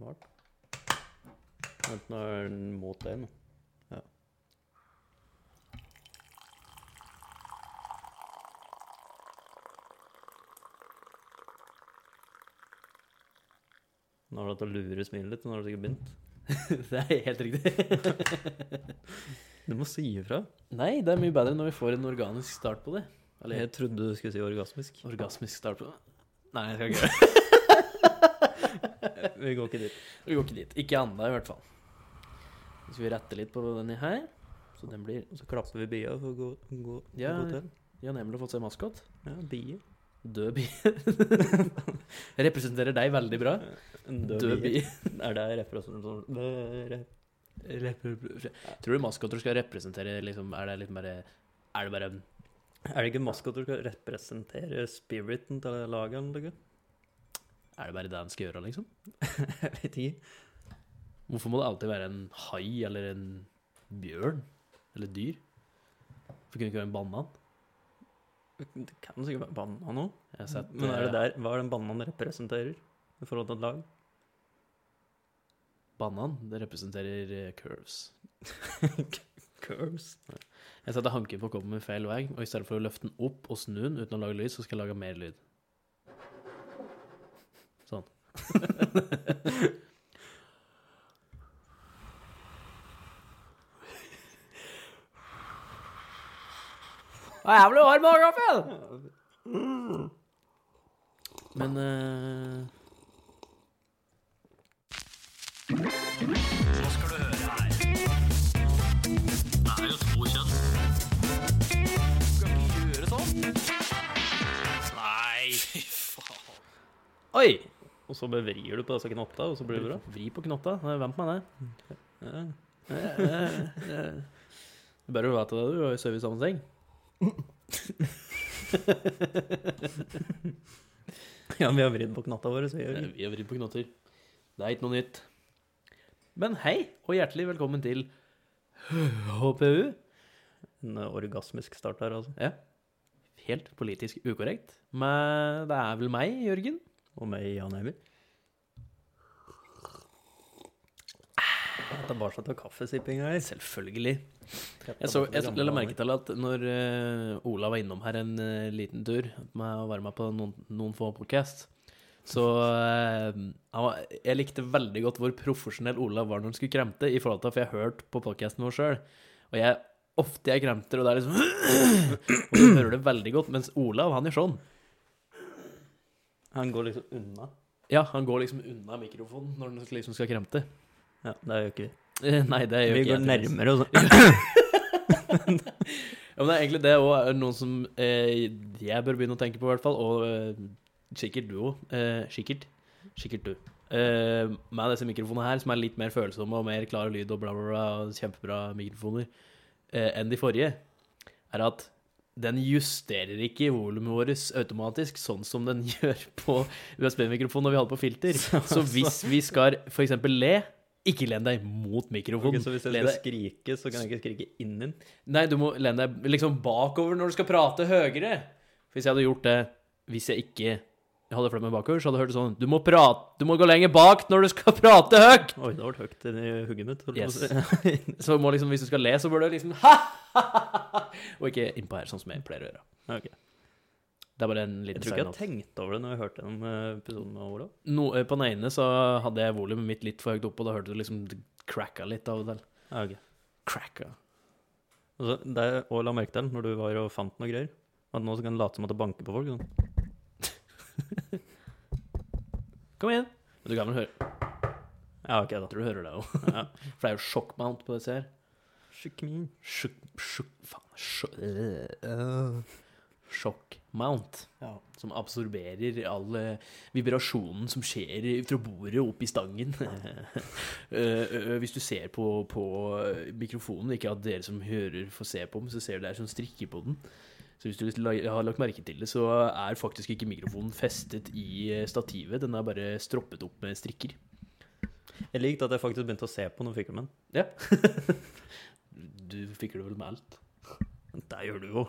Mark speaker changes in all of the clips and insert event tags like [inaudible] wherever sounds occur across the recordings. Speaker 1: hardt. Vent, nå er den mot deg nå. Ja. Nå har du hatt å lure smilet litt, nå har du sikkert begynt.
Speaker 2: det er helt riktig.
Speaker 1: Du må si ifra.
Speaker 2: Nei, det er mye bedre når vi får en organisk start på det. Eller
Speaker 1: Jeg trodde du skulle si orgasmisk.
Speaker 2: orgasmisk start på det. Nei, jeg skal ikke gjøre det.
Speaker 1: [laughs] Vi går ikke dit.
Speaker 2: Vi går ikke dit. Ikke ennå, i hvert fall. Så skal vi rette litt på denne her. Så den blir
Speaker 1: Og så klapper vi bia for å gå, gå,
Speaker 2: Ja.
Speaker 1: gå til.
Speaker 2: Jan Emil har fått seg maskot.
Speaker 1: Ja, bie.
Speaker 2: Død bi. [laughs] Representerer deg veldig bra.
Speaker 1: En død,
Speaker 2: Død bi.
Speaker 1: bie. [laughs] Er det representasjon det Sånn, er rep-
Speaker 2: Tror du maskoter skal representere liksom, Er det litt mer Er det bare
Speaker 1: Er det ikke maskoter som skal representere spiriten til laget? eller noe?
Speaker 2: Er det bare det den skal gjøre, liksom?
Speaker 1: [laughs] Jeg vet ikke.
Speaker 2: Hvorfor må det alltid være en hai eller en bjørn? Eller et dyr? For kunne det ikke være en banan?
Speaker 1: Det kan sikkert være banan nå.
Speaker 2: Jeg har sett,
Speaker 1: Men er det
Speaker 2: eh,
Speaker 1: der, hva er den bananen representerer i forhold til et lag?
Speaker 2: Banan det representerer eh, curves.
Speaker 1: Curves.
Speaker 2: Jeg satte hanken på koppen min feil vei, og i stedet for å løfte den opp og snu den uten å lage lyd, så skal jeg lage mer lyd. Sånn. Jeg ble varm av gaffel! Men eh, Oi!
Speaker 1: Og så bevrir du på disse knotta, og så blir det bra.
Speaker 2: Vri på knotta. Nei, Vent meg det.
Speaker 1: Ja.
Speaker 2: Du bør jo vite det, du har jo sovet i samme seng.
Speaker 1: [laughs] ja, men vi har vridd på knotta våre, så vi gjør
Speaker 2: Vi har vridd på knotter. Det er ikke noe nytt. Men hei, og hjertelig velkommen til HPU.
Speaker 1: en orgasmisk start her, altså.
Speaker 2: Helt politisk ukorrekt. Men det er vel meg, Jørgen?
Speaker 1: Og med Jan Emil. Ah, Tilbake til kaffesippinga her.
Speaker 2: Selvfølgelig. Jeg, så, jeg så- la merke til at når eh, Ola var innom her en eh, liten tur med å være med på noen, noen få podcast, så eh, han var, jeg likte veldig godt hvor profesjonell Ola var når han skulle kremte, i forhold til for jeg hørte på podcasten vår selv. Og jeg, ofte jeg kremter, og det er liksom [clears throat] Og du hører det veldig godt, mens Olav, han gjør sånn.
Speaker 1: Han går liksom unna.
Speaker 2: Ja, han går liksom unna mikrofonen når han liksom skal kremte.
Speaker 1: Ja, det gjør ikke vi.
Speaker 2: Eh, Nei, det gjør
Speaker 1: Vi går
Speaker 2: ikke jeg, tydeligvis.
Speaker 1: nærmere og sånn.
Speaker 2: Ja, men det er egentlig det også er noe som eh, jeg bør begynne å tenke på, i hvert fall. Og eh, sikkert du òg. Eh, sikkert. Sikkert du. Eh, med disse mikrofonene her, som er litt mer følsomme og mer klar lyd og bla, bla, bla, og kjempebra mikrofoner eh, enn de forrige, er at den justerer ikke volumet vårt automatisk, sånn som den [laughs] gjør på USB-mikrofonen når vi har det på filter. Så hvis vi skal f.eks. le, ikke len deg mot
Speaker 1: Ok,
Speaker 2: mikrofonen.
Speaker 1: så hvis jeg
Speaker 2: Len
Speaker 1: skal
Speaker 2: deg-
Speaker 1: skrike, så kan jeg ikke skrike inn den?
Speaker 2: Nei, du må lene deg liksom bakover når du skal prate høyere. For hvis jeg hadde gjort det Hvis jeg ikke hadde flyttet meg bakover, så hadde jeg hørt det sånn Du må prate Du må gå lenger bak når du skal [laughs] prate høyt!
Speaker 1: Oi, det ble høyt inni hugget mitt. holdt jeg på å
Speaker 2: Yes.
Speaker 1: si.
Speaker 2: Så må liksom, hvis du skal le, så bør du liksom [laughs] ha, ha, ha, ha, Og ikke innpå her, sånn som jeg pleier å gjøre.
Speaker 1: Ok.
Speaker 2: Det er bare en
Speaker 1: Jeg
Speaker 2: liten
Speaker 1: tror ikke jeg
Speaker 2: sign-off.
Speaker 1: har tenkt over det når jeg hørte den eh, episoden med Olav.
Speaker 2: No, eh, på den ene så hadde jeg volumet mitt litt for høyt oppe, og da hørte du liksom det cracka litt av og til.
Speaker 1: Ja, ok.
Speaker 2: Cracka.
Speaker 1: Og så, det jeg la merke til når du var og fant noe greier, at nå så kan du late som at det banker på folk. Sånn.
Speaker 2: Kom igjen. Men du kan vel høre
Speaker 1: Ja, ok, da.
Speaker 2: Jeg tror du hører det òg. [laughs] For det er jo sjokkmount på disse her.
Speaker 1: Sjekk min.
Speaker 2: Sjokk... Sjokk... Faen. Sjokk... Sjokkmount.
Speaker 1: Ja.
Speaker 2: Som absorberer all eh, vibrasjonen som skjer fra bordet opp i stangen. [laughs] Eh, eh, Hvis du ser på, på øh, mikrofonen, ikke at dere som hører får se på den, så ser du det er sånn strikker på den. Så hvis du litt la- har lagt merke til det, så er faktisk ikke mikrofonen festet i eh, stativet. Den er bare stroppet opp med strikker.
Speaker 1: Jeg likte at jeg faktisk begynte å se på når jeg fikk den. men
Speaker 2: Ja. du fikk det vel med alt?
Speaker 1: Det gjør du jo.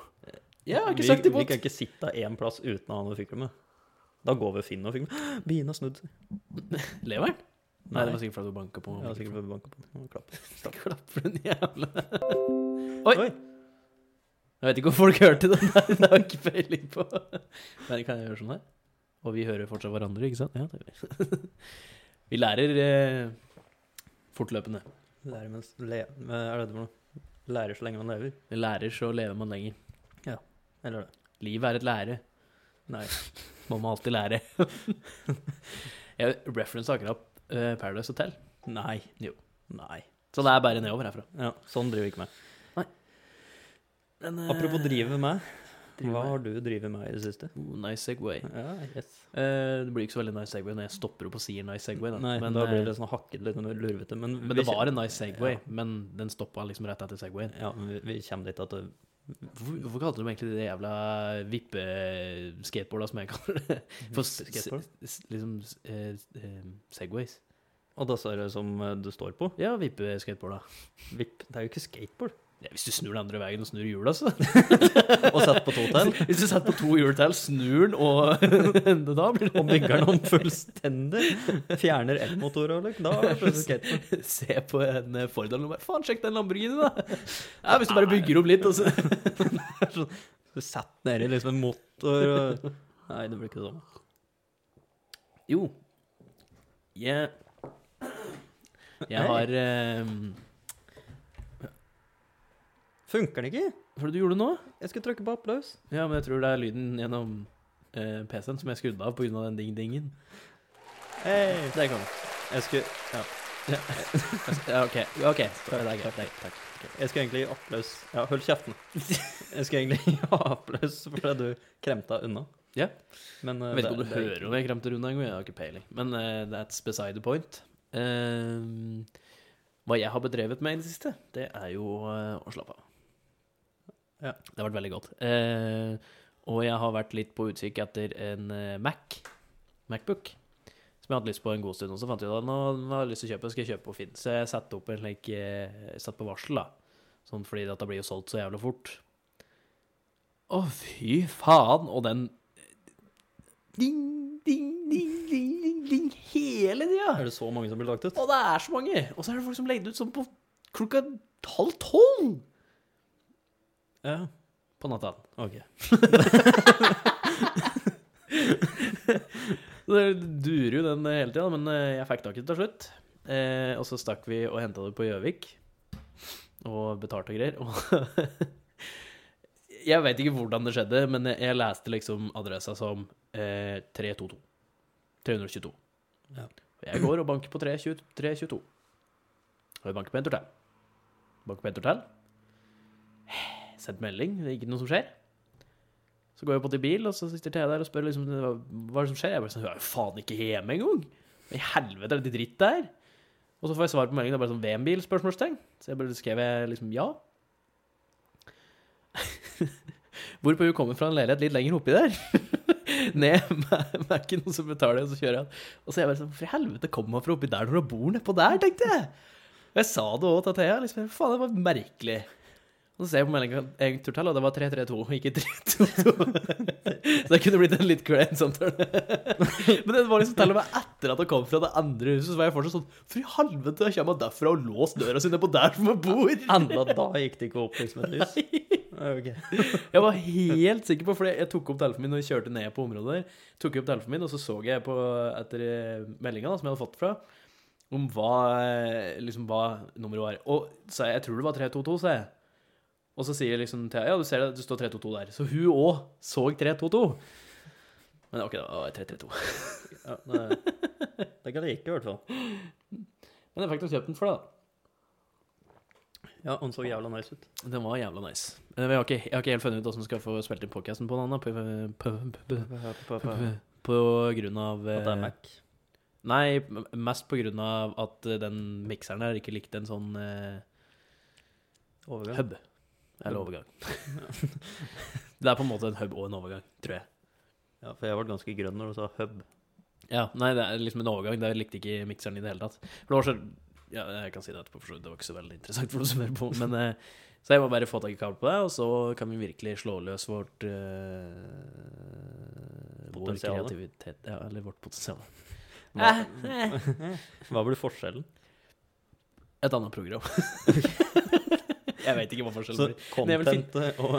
Speaker 2: Ja, jeg har
Speaker 1: Vi-
Speaker 2: ikke sagt
Speaker 1: Vi
Speaker 2: imot.
Speaker 1: kan ikke sitte én plass [gasps] uten å ha noe å fikle med. Da går vi og finner noe å fikle med. Bien har snudd seg.
Speaker 2: Leveren? Nei, det var sikkert fordi du banka på.
Speaker 1: Ja, sikkert fordi du banka på den. Og klapp.
Speaker 2: [laughs] Klapper den jævla Oi! Jeg vet ikke om folk hørte den der, [laughs] det har jeg ikke peiling på. Men kan jeg gjøre sånn her? Og vi hører fortsatt hverandre, ikke sant? Ja, det gjør vi. [laughs] vi lærer eh, fortløpende.
Speaker 1: Lærer mens le... Hva er det det for noe? Lærer så lenge man lever.
Speaker 2: Vi lærer, så lever man lenger.
Speaker 1: Eller det?
Speaker 2: Livet er et lære.
Speaker 1: Nei.
Speaker 2: Man må alltid lære. [laughs] jeg referansa akkurat eh, Paradise Hotel,
Speaker 1: Nei.
Speaker 2: Jo.
Speaker 1: Nei.
Speaker 2: så det er bare nedover herfra.
Speaker 1: Ja, sånn driver vi ikke med.
Speaker 2: Men, eh,
Speaker 1: Apropos drive med,
Speaker 2: drive
Speaker 1: hva
Speaker 2: med.
Speaker 1: har du drevet med i det siste?
Speaker 2: Oh, nice Segway.
Speaker 1: Ja, yes.
Speaker 2: Eh, det blir ikke så veldig nice Segway når jeg stopper opp og sier nice Segway. Da.
Speaker 1: Nei,
Speaker 2: men,
Speaker 1: da blir
Speaker 2: eh,
Speaker 1: det sånn hakket litt og lurvete. Men,
Speaker 2: men det
Speaker 1: vi kje-
Speaker 2: var en nice Segway,
Speaker 1: Ja.
Speaker 2: men den stoppa liksom rett etter Segwayen.
Speaker 1: Ja, men vi, vi kommer dit at det
Speaker 2: Hvorfor, hvorfor kalte de egentlig det jævla vippe-skateboarda som jeg kaller det? For s-
Speaker 1: Skateboard?
Speaker 2: s- s- liksom s- eh, eh, Segways.
Speaker 1: Og da ser det som eh, du står på.
Speaker 2: Ja, vippe-skateboarda.
Speaker 1: Vipp. Det er jo ikke skateboard. [laughs]
Speaker 2: Ja, hvis du snur den andre veien og snur hjulet, så.
Speaker 1: Og setter på to til.
Speaker 2: Hvis du setter på to hjul til, snur den, og [laughs] da blir det
Speaker 1: Og bygger den om fullstendig. Fjerner elmotor og liksom. Da er det plutselig skateboard.
Speaker 2: [laughs] Se på en eh, Ford eller noe. bare, Faen, sjekk den Lamborghini, da! Ja, hvis du bare bygger opp litt, og
Speaker 1: [laughs]
Speaker 2: så
Speaker 1: Du sånn, setter nedi liksom en motor og Nei, det blir ikke det samme.
Speaker 2: Jo. Jeg Jeg har eh,
Speaker 1: Funker den ikke?
Speaker 2: Hva var det du gjorde nå?
Speaker 1: Jeg skulle trykke på applaus.
Speaker 2: Ja, men jeg tror det er lyden gjennom eh, PC-en som jeg skrudde av pga. den ding-dingen.
Speaker 1: Hey.
Speaker 2: Der kom den.
Speaker 1: Jeg skulle,
Speaker 2: Ja, OK. ok, Det er greit. det er greit. Takk.
Speaker 1: jeg skulle egentlig gi applaus Ja, hold kjeften. Jeg skulle egentlig [laughs] gi applaus fordi du kremta unna.
Speaker 2: Ja.
Speaker 1: Men eh,
Speaker 2: Jeg vet ikke om
Speaker 1: det-
Speaker 2: du
Speaker 1: det er
Speaker 2: hører om jeg kremter unna engang, jeg har ikke peiling. Men eh, that's beside the point. Eh, hva jeg har bedrevet med i det siste, det er jo eh, å slappe av.
Speaker 1: Ja.
Speaker 2: Det har vært veldig godt. Eh, og jeg har vært litt på utkikk etter en eh, Mac, Macbook, som jeg hadde lyst på en god stund. Og så fant jeg ut at nå har jeg lyst til å kjøpe, skal jeg kjøpe på Finn. Så jeg satte opp en slik eh, Satt på varsel, da. Sånn fordi dette blir jo solgt så jævla fort. Å, fy faen! Og den Ding, ding, ding, ding, ding, ding hele
Speaker 1: Er
Speaker 2: tida.
Speaker 1: det så mange som blir lagt ut?
Speaker 2: Og det er så mange. Og så er det folk som legger det ut sånn på klokka halv tolv
Speaker 1: Ja.
Speaker 2: på natta. [laughs]
Speaker 1: OK.
Speaker 2: Så Det durer jo den hele tida, men eh, jeg fikk tak i det til slutt. Eh, og så stakk vi og henta det på Gjøvik. Og betalte og [laughs] greier. Og jeg veit ikke hvordan det skjedde, men jeg- jeg leste liksom adressa som eh, 322. 322.
Speaker 1: Ja.
Speaker 2: Og jeg går og banker på 322. 322. Og jeg banker på en tur til. Banker på en tur til. Sendt melding, det er ikke noe som skjer. Så går jeg på til bil, og så sitter Thea der og spør liksom, hva hva er det som skjer. Jeg bare sånn, hun er jo faen ikke hjemme engang! Hva i helvete er det dritt der? Og så får jeg svar på meldingen, det er bare sånn VM-bil? spørsmålstegn. Så jeg bare skrev jeg liksom ja. [laughs] Hvorpå hun kommer fra en leilighet litt lenger oppi der. [laughs] Ned med, med ikke noen som betaler, og så kjører jeg. Og så er jeg bare sånn, for i helvete kommer hun fra oppi der når hun bor nedpå der, tenkte jeg. Og jeg sa det òg til Thea. liksom, Faen, det var merkelig. Og så ser jeg på meldingen en tur til, og det var 332, ikke 322. [laughs] så det kunne blitt en litt klein samtale. [laughs] Men det var liksom til og med etter at jeg kom fra det andre huset, så var jeg fortsatt sånn For i helvete, jeg kommer derfra og låser døra si nedpå der som jeg bor.
Speaker 1: Enda da gikk det ikke opp liksom et lys? Ok.
Speaker 2: Jeg var helt sikker på, for jeg tok opp telefonen min og kjørte ned på området der, tok jeg opp telefonen min, og så så jeg på etter meldinga som jeg hadde fått fra, om hva, eh, liksom, hva nummeret var. Og sa jeg, jeg tror det var 322, sa jeg. Og så sier liksom Thea, ja, du ser det, det står 322 der. Så hun òg så 322. Men ok, det var 332.
Speaker 1: Ja, det, det kan det ikke, i hvert fall.
Speaker 2: Men jeg fikk nå kjøpt den for deg, da.
Speaker 1: Ja, han så jævla nice ut.
Speaker 2: Den var jævla nice. Men Jeg har ikke, jeg har ikke helt funnet ut hvordan vi skal få spilt inn podkasten på den ennå, på- på- på-
Speaker 1: At
Speaker 2: på- på grunn av eh,
Speaker 1: det er Mac.
Speaker 2: Nei, m- mest på grunn av at eh, den mikseren her ikke likte en sånn eh,
Speaker 1: Overgang.
Speaker 2: hub. Eller overgang. [laughs] det er på en måte en hub og en overgang, tror jeg.
Speaker 1: Ja, for jeg ble ganske grønn når du sa hub.
Speaker 2: Ja, Nei, det er liksom en overgang. Det likte ikke mikseren i det hele tatt. For det var så Ja, jeg kan si det etterpå, for så vidt. Det var ikke så veldig interessant for noen som hører på. Men eh, Så jeg må bare få tak i kabel på det, og så kan vi virkelig slå løs vårt eh, vår
Speaker 1: Potensial.
Speaker 2: kreativitet. Ja, eller vårt potensial.
Speaker 1: Hva, hva blir forskjellen?
Speaker 2: Et annet program. [laughs] jeg veit ikke hva forskjellen
Speaker 1: Så
Speaker 2: blir. Men jeg vil fin-
Speaker 1: contentet og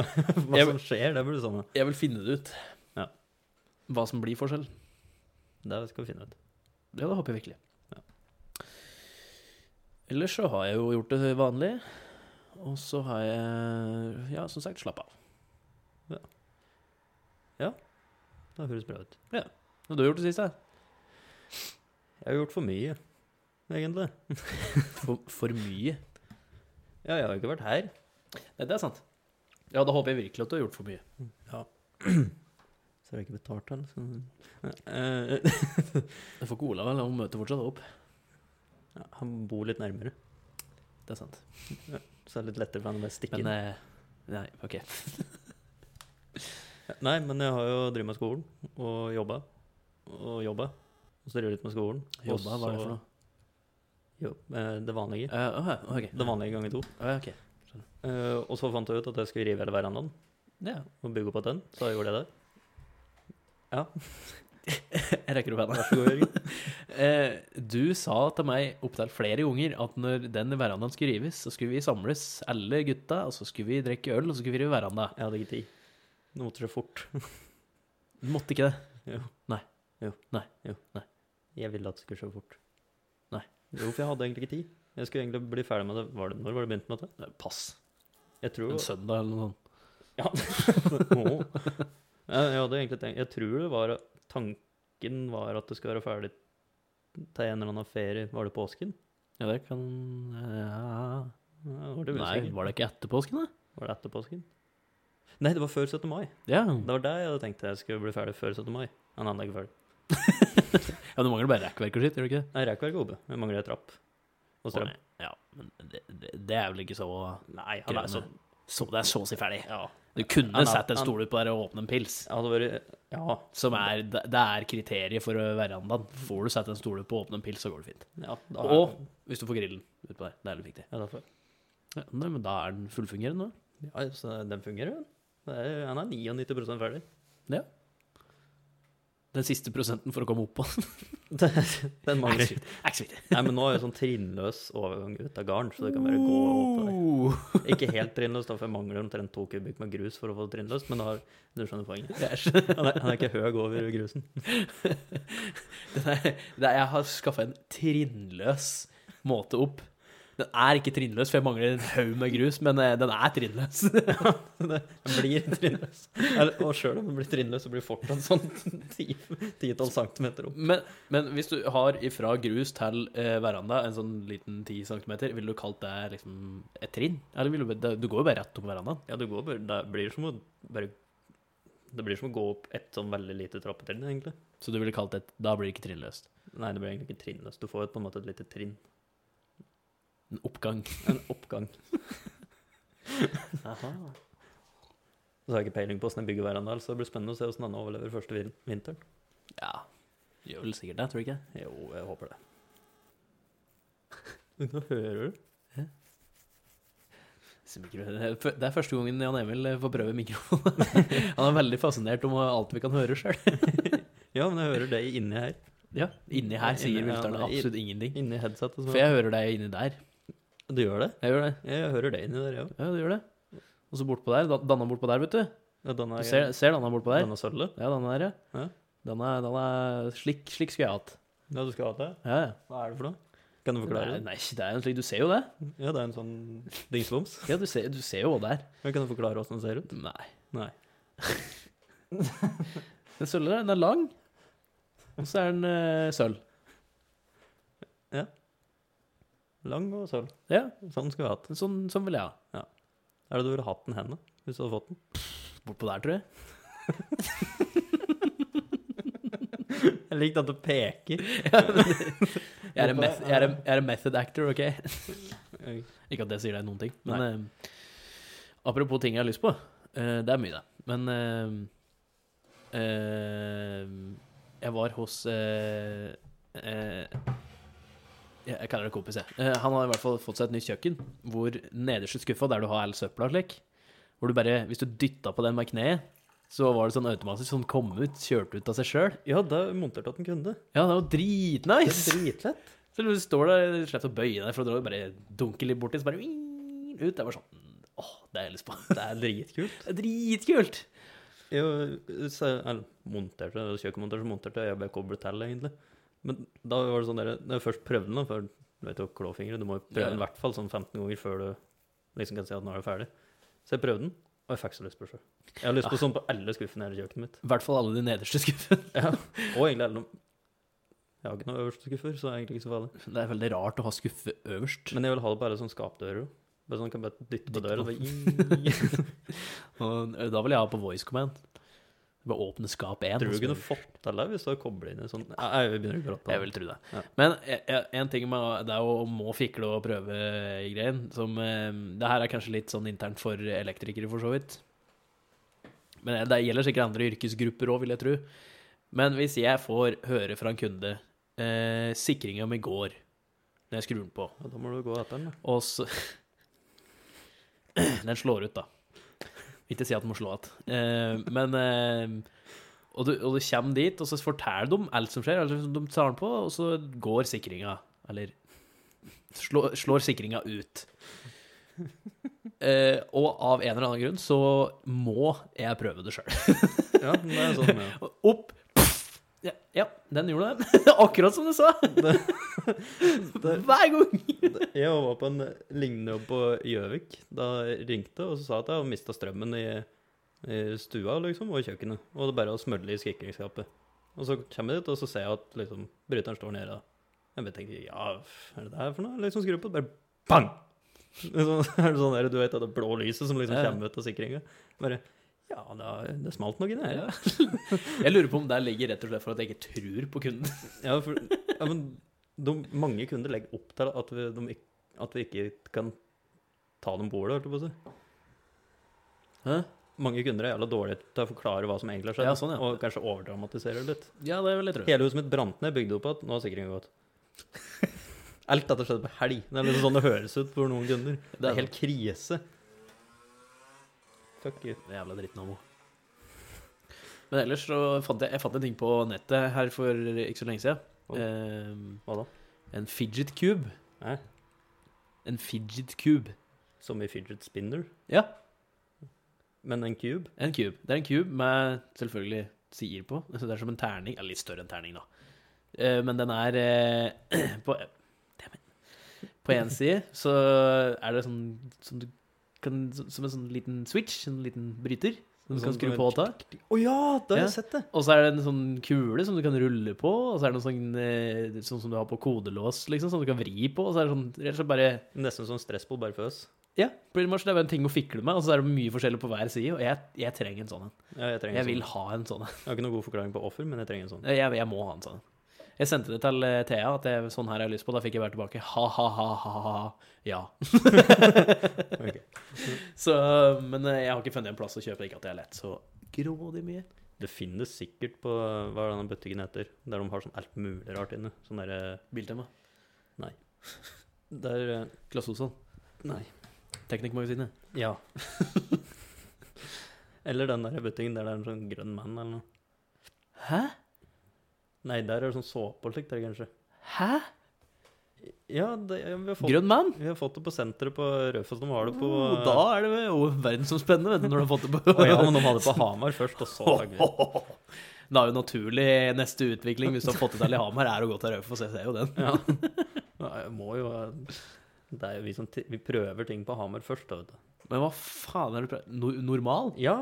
Speaker 1: [laughs]
Speaker 2: [laughs]
Speaker 1: hva
Speaker 2: Jeg vil-
Speaker 1: som skjer, det blir det samme.
Speaker 2: Jeg vil finne det ut.
Speaker 1: Ja.
Speaker 2: Hva som blir forskjellen.
Speaker 1: Det skal vi finne ut.
Speaker 2: Ja, det håper jeg virkelig.
Speaker 1: Ja.
Speaker 2: Ellers så har jeg jo gjort det vanlig. Og så har jeg, ja, som sagt, slapp av.
Speaker 1: Det høres bra ut.
Speaker 2: Og du har gjort det siste?
Speaker 1: Jeg har gjort for mye, egentlig.
Speaker 2: For, for mye.
Speaker 1: Ja, jeg har ikke vært her.
Speaker 2: Nei, det er sant. Ja, da håper jeg virkelig at du har gjort for mye.
Speaker 1: Så har jeg ikke betalt den. Så... Eh, [laughs]
Speaker 2: Jeg får ikke Olav eller han møter fortsatt opp.
Speaker 1: ja, han bor litt nærmere,
Speaker 2: Det er sant.
Speaker 1: så det er litt lettere for han å bare stikke
Speaker 2: Men,
Speaker 1: inn.
Speaker 2: eh, nei, ok.
Speaker 1: Nei, men jeg har jo drevet med skolen og jobba. Og jobba. Og så driver jeg litt med skolen. og
Speaker 2: Jobba, hva er det
Speaker 1: så-
Speaker 2: for noe?
Speaker 1: Jo, eh, det vanlige.
Speaker 2: Eh, åh, ok.
Speaker 1: Det vanlige ganger to.
Speaker 2: Åh, ok.
Speaker 1: Eh, og så fant jeg ut at jeg skulle rive hele verandaen
Speaker 2: Ja.
Speaker 1: og bygge opp at den. Så jeg gjorde jeg det.
Speaker 2: Jeg rekker opp henne.
Speaker 1: Vær så god, Jørgen.
Speaker 2: [laughs] Eh, du sa til meg opptil flere ganger at når den verandaen skulle rives, så skulle vi samles, alle gutta, og så skulle vi drikke øl, og så skulle vi rive veranda.
Speaker 1: Jeg hadde ikke tid. Nå måtte det fort.
Speaker 2: Du måtte ikke det.
Speaker 1: Jo.
Speaker 2: Nei.
Speaker 1: Jo.
Speaker 2: Nei.
Speaker 1: Jo.
Speaker 2: Nei.
Speaker 1: Jeg ville at det skulle skje fort.
Speaker 2: Nei.
Speaker 1: Jo, for jeg hadde egentlig ikke tid. Jeg skulle egentlig bli ferdig med det. Var det når var det begynt med det?
Speaker 2: Nei, Pass.
Speaker 1: Jeg tror
Speaker 2: En søndag eller noe sånt.
Speaker 1: Ja. [laughs] Åh. Jeg, jeg hadde egentlig tenkt Jeg tror det var Tanken var at det skulle være ferdig til en eller annen ferie. Var det påsken?
Speaker 2: Ja, det kan ja.
Speaker 1: Ja, var det
Speaker 2: Nei,
Speaker 1: usikker.
Speaker 2: var det ikke etter påsken, da?
Speaker 1: Var det etter påsken? Nei, det var før 17. mai.
Speaker 2: Ja.
Speaker 1: Det var der jeg hadde tenkt jeg skulle bli ferdig før 17. mai. Men han er ikke ferdig.
Speaker 2: ja du mangler bare rekkverk og sitt, gjør du ikke det?
Speaker 1: Nei, rekkverket er oppe. Jeg mangler ei trapp. Og strøm.
Speaker 2: Å, nei. Ja, men det, det, det er vel ikke så
Speaker 1: Nei, han er så
Speaker 2: Så det er så å si ferdig.
Speaker 1: Ja.
Speaker 2: Du kunne
Speaker 1: Han er-
Speaker 2: satt en
Speaker 1: han-
Speaker 2: stol ut på der og åpne en pils.
Speaker 1: Jeg hadde vært Ja.
Speaker 2: Som er, det det er kriteriet for verandaen. Får du satt en stol ut på og åpne en pils, så går det fint.
Speaker 1: ja da er-
Speaker 2: Og hvis du får grillen utpå der. Det er litt viktig.
Speaker 1: ja, derfor.
Speaker 2: Ja, nei, men da er den fullfungerende. da.
Speaker 1: ja, så den fungerer, den. Det er- Han er 99 ferdig. [laughs]
Speaker 2: Den siste prosenten for å komme opp på.
Speaker 1: Den
Speaker 2: Er ikke
Speaker 1: mangler
Speaker 2: så viktig. Er ikke så viktig.
Speaker 1: Nei, men nå er det sånn trinnløs overgang ut av garn, så det kan bare gå opp der. Ikke helt trinnløs, da, for jeg mangler omtrent to kubikk med grus for å få det trinnløst, men da har, du skjønner poenget.
Speaker 2: Jeg skjønner.
Speaker 1: Han er, han er ikke høy over grusen.
Speaker 2: [laughs] Den er, det er, jeg har skaffa en trinnløs måte opp. Den er ikke trinnløs, for jeg mangler en haug med grus, men eh, den er trinnløs.
Speaker 1: Det den blir trinnløs. Eller, og sjøl om den blir trinnløs, så blir det fortsatt sånn ti- titall centimeter opp.
Speaker 2: Men, men hvis du har ifra grus til eh, veranda en sånn liten 10 cm, ville du kalt det liksom et trinn? Eller vil du, det- du går jo bare rett opp på verandaen.
Speaker 1: Ja, det går bare Det blir som å bare Det blir som å gå opp et sånn veldig lite trappetrinn, egentlig.
Speaker 2: Så du ville kalt det Da blir det ikke trinnløst.
Speaker 1: Nei, det blir egentlig ikke trinnløst. Du får jo på en måte et lite trinn.
Speaker 2: En oppgang. [laughs]
Speaker 1: En oppgang. Så har jeg ikke peiling på åssen jeg bygger veranda, så det blir spennende å se åssen han overlever første vin- vinteren.
Speaker 2: Ja. Gjør vel sikkert det, tror du ikke?
Speaker 1: Jo, jeg håper det. Nå hører du.
Speaker 2: Disse mikro- Det er første gangen Jan Emil eh, får prøve mikrofonen. [laughs] Han er veldig fascinert om alt vi kan høre sjøl.
Speaker 1: Ja, men jeg hører det inni her.
Speaker 2: [laughs] Ja, inni her sier
Speaker 1: Inni- ja,
Speaker 2: vilterne
Speaker 1: nei, i-
Speaker 2: absolutt ingenting.
Speaker 1: Inni headsetet. som
Speaker 2: For jeg hører deg inni der.
Speaker 1: Du gjør det?
Speaker 2: Jeg gjør det.
Speaker 1: Jeg hører det inni der, jeg òg.
Speaker 2: Ja, du gjør det. Og så bortpå der. Dan- Danna bortpå der, vet du.
Speaker 1: Denne,
Speaker 2: Du ser, ser Danna bortpå der.
Speaker 1: denne sølvet?
Speaker 2: Ja, den der, ja.
Speaker 1: Ja.
Speaker 2: Den er, den er slik, slik skulle jeg hatt.
Speaker 1: Ja, du skal ha det?
Speaker 2: Ja, ja.
Speaker 1: Hva er det for noe? Kan du
Speaker 2: Nei,
Speaker 1: forklare det?
Speaker 2: nei, det er en slik, du ser jo det.
Speaker 1: Ja, det er en sånn dingslums.
Speaker 2: Ja, du ser, du ser jo hva det er.
Speaker 1: Men Kan du forklare åssen den ser ut?
Speaker 2: Nei.
Speaker 1: Nei.
Speaker 2: [laughs] Den sølv der, den er lang. Og så er den eh, sølv.
Speaker 1: Lang og sølv.
Speaker 2: Ja,
Speaker 1: Sånn skulle vi hatt.
Speaker 2: den sånn, sånn vil jeg ha.
Speaker 1: Er det du ville hatt den henne, hvis du hadde fått den?
Speaker 2: Bortpå der, tror jeg.
Speaker 1: [laughs] Jeg likte at du
Speaker 2: [laughs]
Speaker 1: peker.
Speaker 2: Jeg er en, meth jeg er en, jeg er en method actor, OK? Ikke at det sier deg noen ting. Men eh, apropos ting jeg har lyst på. eh, det er mye, det. Men eh, eh, Jeg var hos eh, eh, jeg jeg kaller det kompis, jeg. Eh, han har i hvert fall fått seg et nytt kjøkken, hvor nederste skuffa, der du har all søpla og slik, hvor du bare Hvis du dytta på den med kneet, så var det sånn automatisk som kom ut, kjørte ut av seg sjøl.
Speaker 1: Ja, det er montert at den kunne.
Speaker 2: Ja, det var
Speaker 1: Det
Speaker 2: dritnice!
Speaker 1: er dritlett.
Speaker 2: Så du står der, du slipper å bøye deg, for da bare dunker litt borti, så bare ving, ut. Det var sånn Åh, det har jeg lyst på.
Speaker 1: Det er dritkult.
Speaker 2: Det er dritkult!
Speaker 1: Jeg, så- eller, monterte, det var kjøkkenmontert, så monterte jeg, jeg ble koblet til, egentlig. Men da var det sånn der, når jeg først prøvde den, da, for du vet jo, klåfingre, du må jo prøve
Speaker 2: Ja.
Speaker 1: den i hvert fall sånn 15 ganger før du liksom kan si at nå er det ferdig. Så jeg prøvde den, og jeg fikk så lyst på det selv. Jeg har lyst
Speaker 2: Ah.
Speaker 1: på sånn på alle skuffene her i kjøkkenet mitt.
Speaker 2: I hvert fall alle de nederste skuffene.
Speaker 1: Ja, og egentlig alle de- Jeg har ikke noen øverste skuffer, så det er egentlig ikke så farlig.
Speaker 2: Det er veldig rart å ha skuffe øverst. [laughs]
Speaker 1: Men jeg vil ha det bare sånn skapdører. Bare sånn kan bare dytte på
Speaker 2: Dytte
Speaker 1: døra.
Speaker 2: på. [laughs]
Speaker 1: bare-
Speaker 2: Og da vil jeg ha på voice command. Bare åpne skap 1.
Speaker 1: Tror du du kunne fått til det hvis du hadde koblet inn en sånn Jeg jeg begynner å gråte.
Speaker 2: Jeg vil tro det.
Speaker 1: Ja.
Speaker 2: Men eh, eh, en ting med det er å må fikle og prøve i greien som eh, Det her er kanskje litt sånn internt for elektrikere, for så vidt. Men eh, det gjelder sikkert andre yrkesgrupper òg, vil jeg tro. Men hvis jeg får høre fra en kunde eh, sikringa mi går når jeg skrur den på,
Speaker 1: Ja, da må du gå etter den, da.
Speaker 2: og så [clears throat] Den slår ut, da. Ikke si at den må slå igjen. Eh, men eh, og, du, og du kommer dit, og så forteller de alt som skjer. Altså, de tar den på, og så går sikringa. Eller slår, slår sikringa ut. Eh, og av en eller annen grunn så må jeg prøve det sjøl.
Speaker 1: Ja, men det er sånn, ja.
Speaker 2: Opp. Pff. Ja, ja, den gjorde det. [laughs] Akkurat som du sa. Hver gang.
Speaker 1: [laughs] Jeg var på en lignende jobb på Gjøvik. Da ringte og så sa jeg at jeg hadde mista strømmen i, i stua liksom, og i kjøkkenet. Og det bare å smølle i skikringsskapet. Og så kommer jeg dit, og så ser jeg at liksom, bryteren står nede. da. Jeg bare tenker ja, er det det her for noe? Liksom skrur på, bare bang! Så er det sånn [laughs] der, du vet, det blå lyset som liksom
Speaker 2: Ja, ja.
Speaker 1: kommer ut av sikringa. Bare ja, det, har- det smalt noe inni her.
Speaker 2: Ja. [laughs] Jeg lurer på om det ligger rett og slett for at jeg ikke tror på kunden.
Speaker 1: Ja, for, ja men de, mange kunder legger opp til at vi, de, ikk- at vi ikke kan ta dem på ordet, holdt jeg på å si.
Speaker 2: Hæ?
Speaker 1: Mange kunder er jævla dårlige til å forklare hva som egentlig har skjedd,
Speaker 2: Ja, sånn, ja.
Speaker 1: og kanskje overdramatiserer litt.
Speaker 2: Ja, det vil jeg tro.
Speaker 1: Hele huset mitt brant ned, bygde opp igjen, nå har sikringen
Speaker 2: [laughs]
Speaker 1: gått. Alt dette skjedde på helg. Det er liksom sånn det høres ut for noen kunder. Det er helt krise. Fuck you.
Speaker 2: Det er jævla drittnamo. Men ellers så fant jeg, jeg fant en ting på nettet her for ikke så lenge siden.
Speaker 1: Oi.
Speaker 2: Ehm,
Speaker 1: Hva da?
Speaker 2: en fidget cube.
Speaker 1: Hæ?
Speaker 2: En fidget cube.
Speaker 1: Som i fidget spinner.
Speaker 2: Ja,
Speaker 1: Men en cube?
Speaker 2: en cube. Det er en cube med selvfølgelig sider på. [laughs] Så det er som en terning. Eller litt større enn terning, da. Eh, men den er eh, [clears throat] på, Damn it. på
Speaker 1: [laughs]
Speaker 2: en side så er det sånn som du kan Som en sånn liten switch, en liten bryter, som du
Speaker 1: Sånn
Speaker 2: kan skru
Speaker 1: som
Speaker 2: på
Speaker 1: en
Speaker 2: og ta.
Speaker 1: Å ja, da har
Speaker 2: Ja.
Speaker 1: jeg sett det!
Speaker 2: Og så er det en sånn kule som du kan rulle på, og så er det noe sånn, eh, sånn som du har på kodelås, liksom, som du kan vri på, og så er det sånn, rett og slett bare,
Speaker 1: Nesten som stressball, bare for oss.
Speaker 2: ja, pretty much, det er bare en ting å fikle med, og så er det mye forskjellig på hver side, og jeg, jeg trenger en sånn en.
Speaker 1: Ja, jeg trenger
Speaker 2: Jeg
Speaker 1: sånn.
Speaker 2: vil ha en sånn en.
Speaker 1: Jeg har ikke noen god forklaring på offer, men jeg trenger en sånn.
Speaker 2: Jeg, jeg må ha en sånn en. Jeg sendte det til eh, Thea, at jeg, sånn her har jeg lyst på, da fikk jeg bare tilbake, ha, ha, ha, ha, ha, ha,
Speaker 1: [laughs]
Speaker 2: ja.
Speaker 1: Ok.
Speaker 2: Så, men eh, jeg har ikke funnet en plass å kjøpe, ikke at jeg er lett, så grådig mye.
Speaker 1: Det finnes sikkert på hva er denne butikken heter, der de har sånn alt mulig rart inne. Sånn derre
Speaker 2: Biltema.
Speaker 1: Der eh,
Speaker 2: Klaas Olsson.
Speaker 1: Nei.
Speaker 2: Teknikmagasinet.
Speaker 1: Ja. [laughs] eller den der butikken der det er en sånn grønn mann eller noe.
Speaker 2: Hæ?
Speaker 1: Nei, der er det sånn såpe og slikt, der, kanskje.
Speaker 2: Hæ?
Speaker 1: Ja, det, ja, vi, har fått,
Speaker 2: Grønn mann?
Speaker 1: vi har fått det på senteret på Raufoss. De har det på
Speaker 2: Oh, da er det jo verdensomspennende, vet du, når du har fått det på
Speaker 1: Å ja, men de hadde det på
Speaker 2: [laughs]
Speaker 1: Hamar først, og så lagde vi det.
Speaker 2: Da er jo naturlig neste utvikling, hvis du har fått det til i Hamar, er å gå til Raufoss. Jeg ser jo den.
Speaker 1: Ja. Nei, jeg må jo Det er jo vi som ti- Vi prøver ting på Hamar først, da, vet du.
Speaker 2: Men hva faen er det pra- no Normal?
Speaker 1: Ja.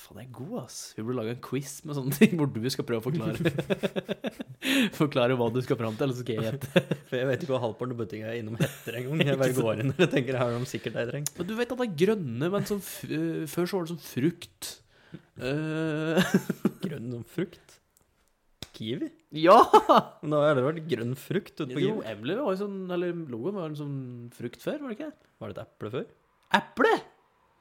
Speaker 2: Faen, jeg er god, ass. Vi burde lage en quiz med sånne ting, hvor du skal prøve å [laughs] forklare Forklare hva du skal fram til, eller så skal jeg gjette.
Speaker 1: For jeg vet ikke hva halvparten av butikken er innom heter engang. Jeg bare går inn der og tenker her har de sikkert ei dreng.
Speaker 2: Men du vet at det er grønne, men som f eh, før så var det som frukt. Eh, [laughs]
Speaker 1: Grønn som frukt? Kiwi?
Speaker 2: ja!
Speaker 1: Men det har aldri vært grønn frukt ute på
Speaker 2: Jo,
Speaker 1: Kiwi.
Speaker 2: Emily var jo sånn, eller logoen var en sånn frukt før, var det ikke?
Speaker 1: Var det et eple før?
Speaker 2: Eple?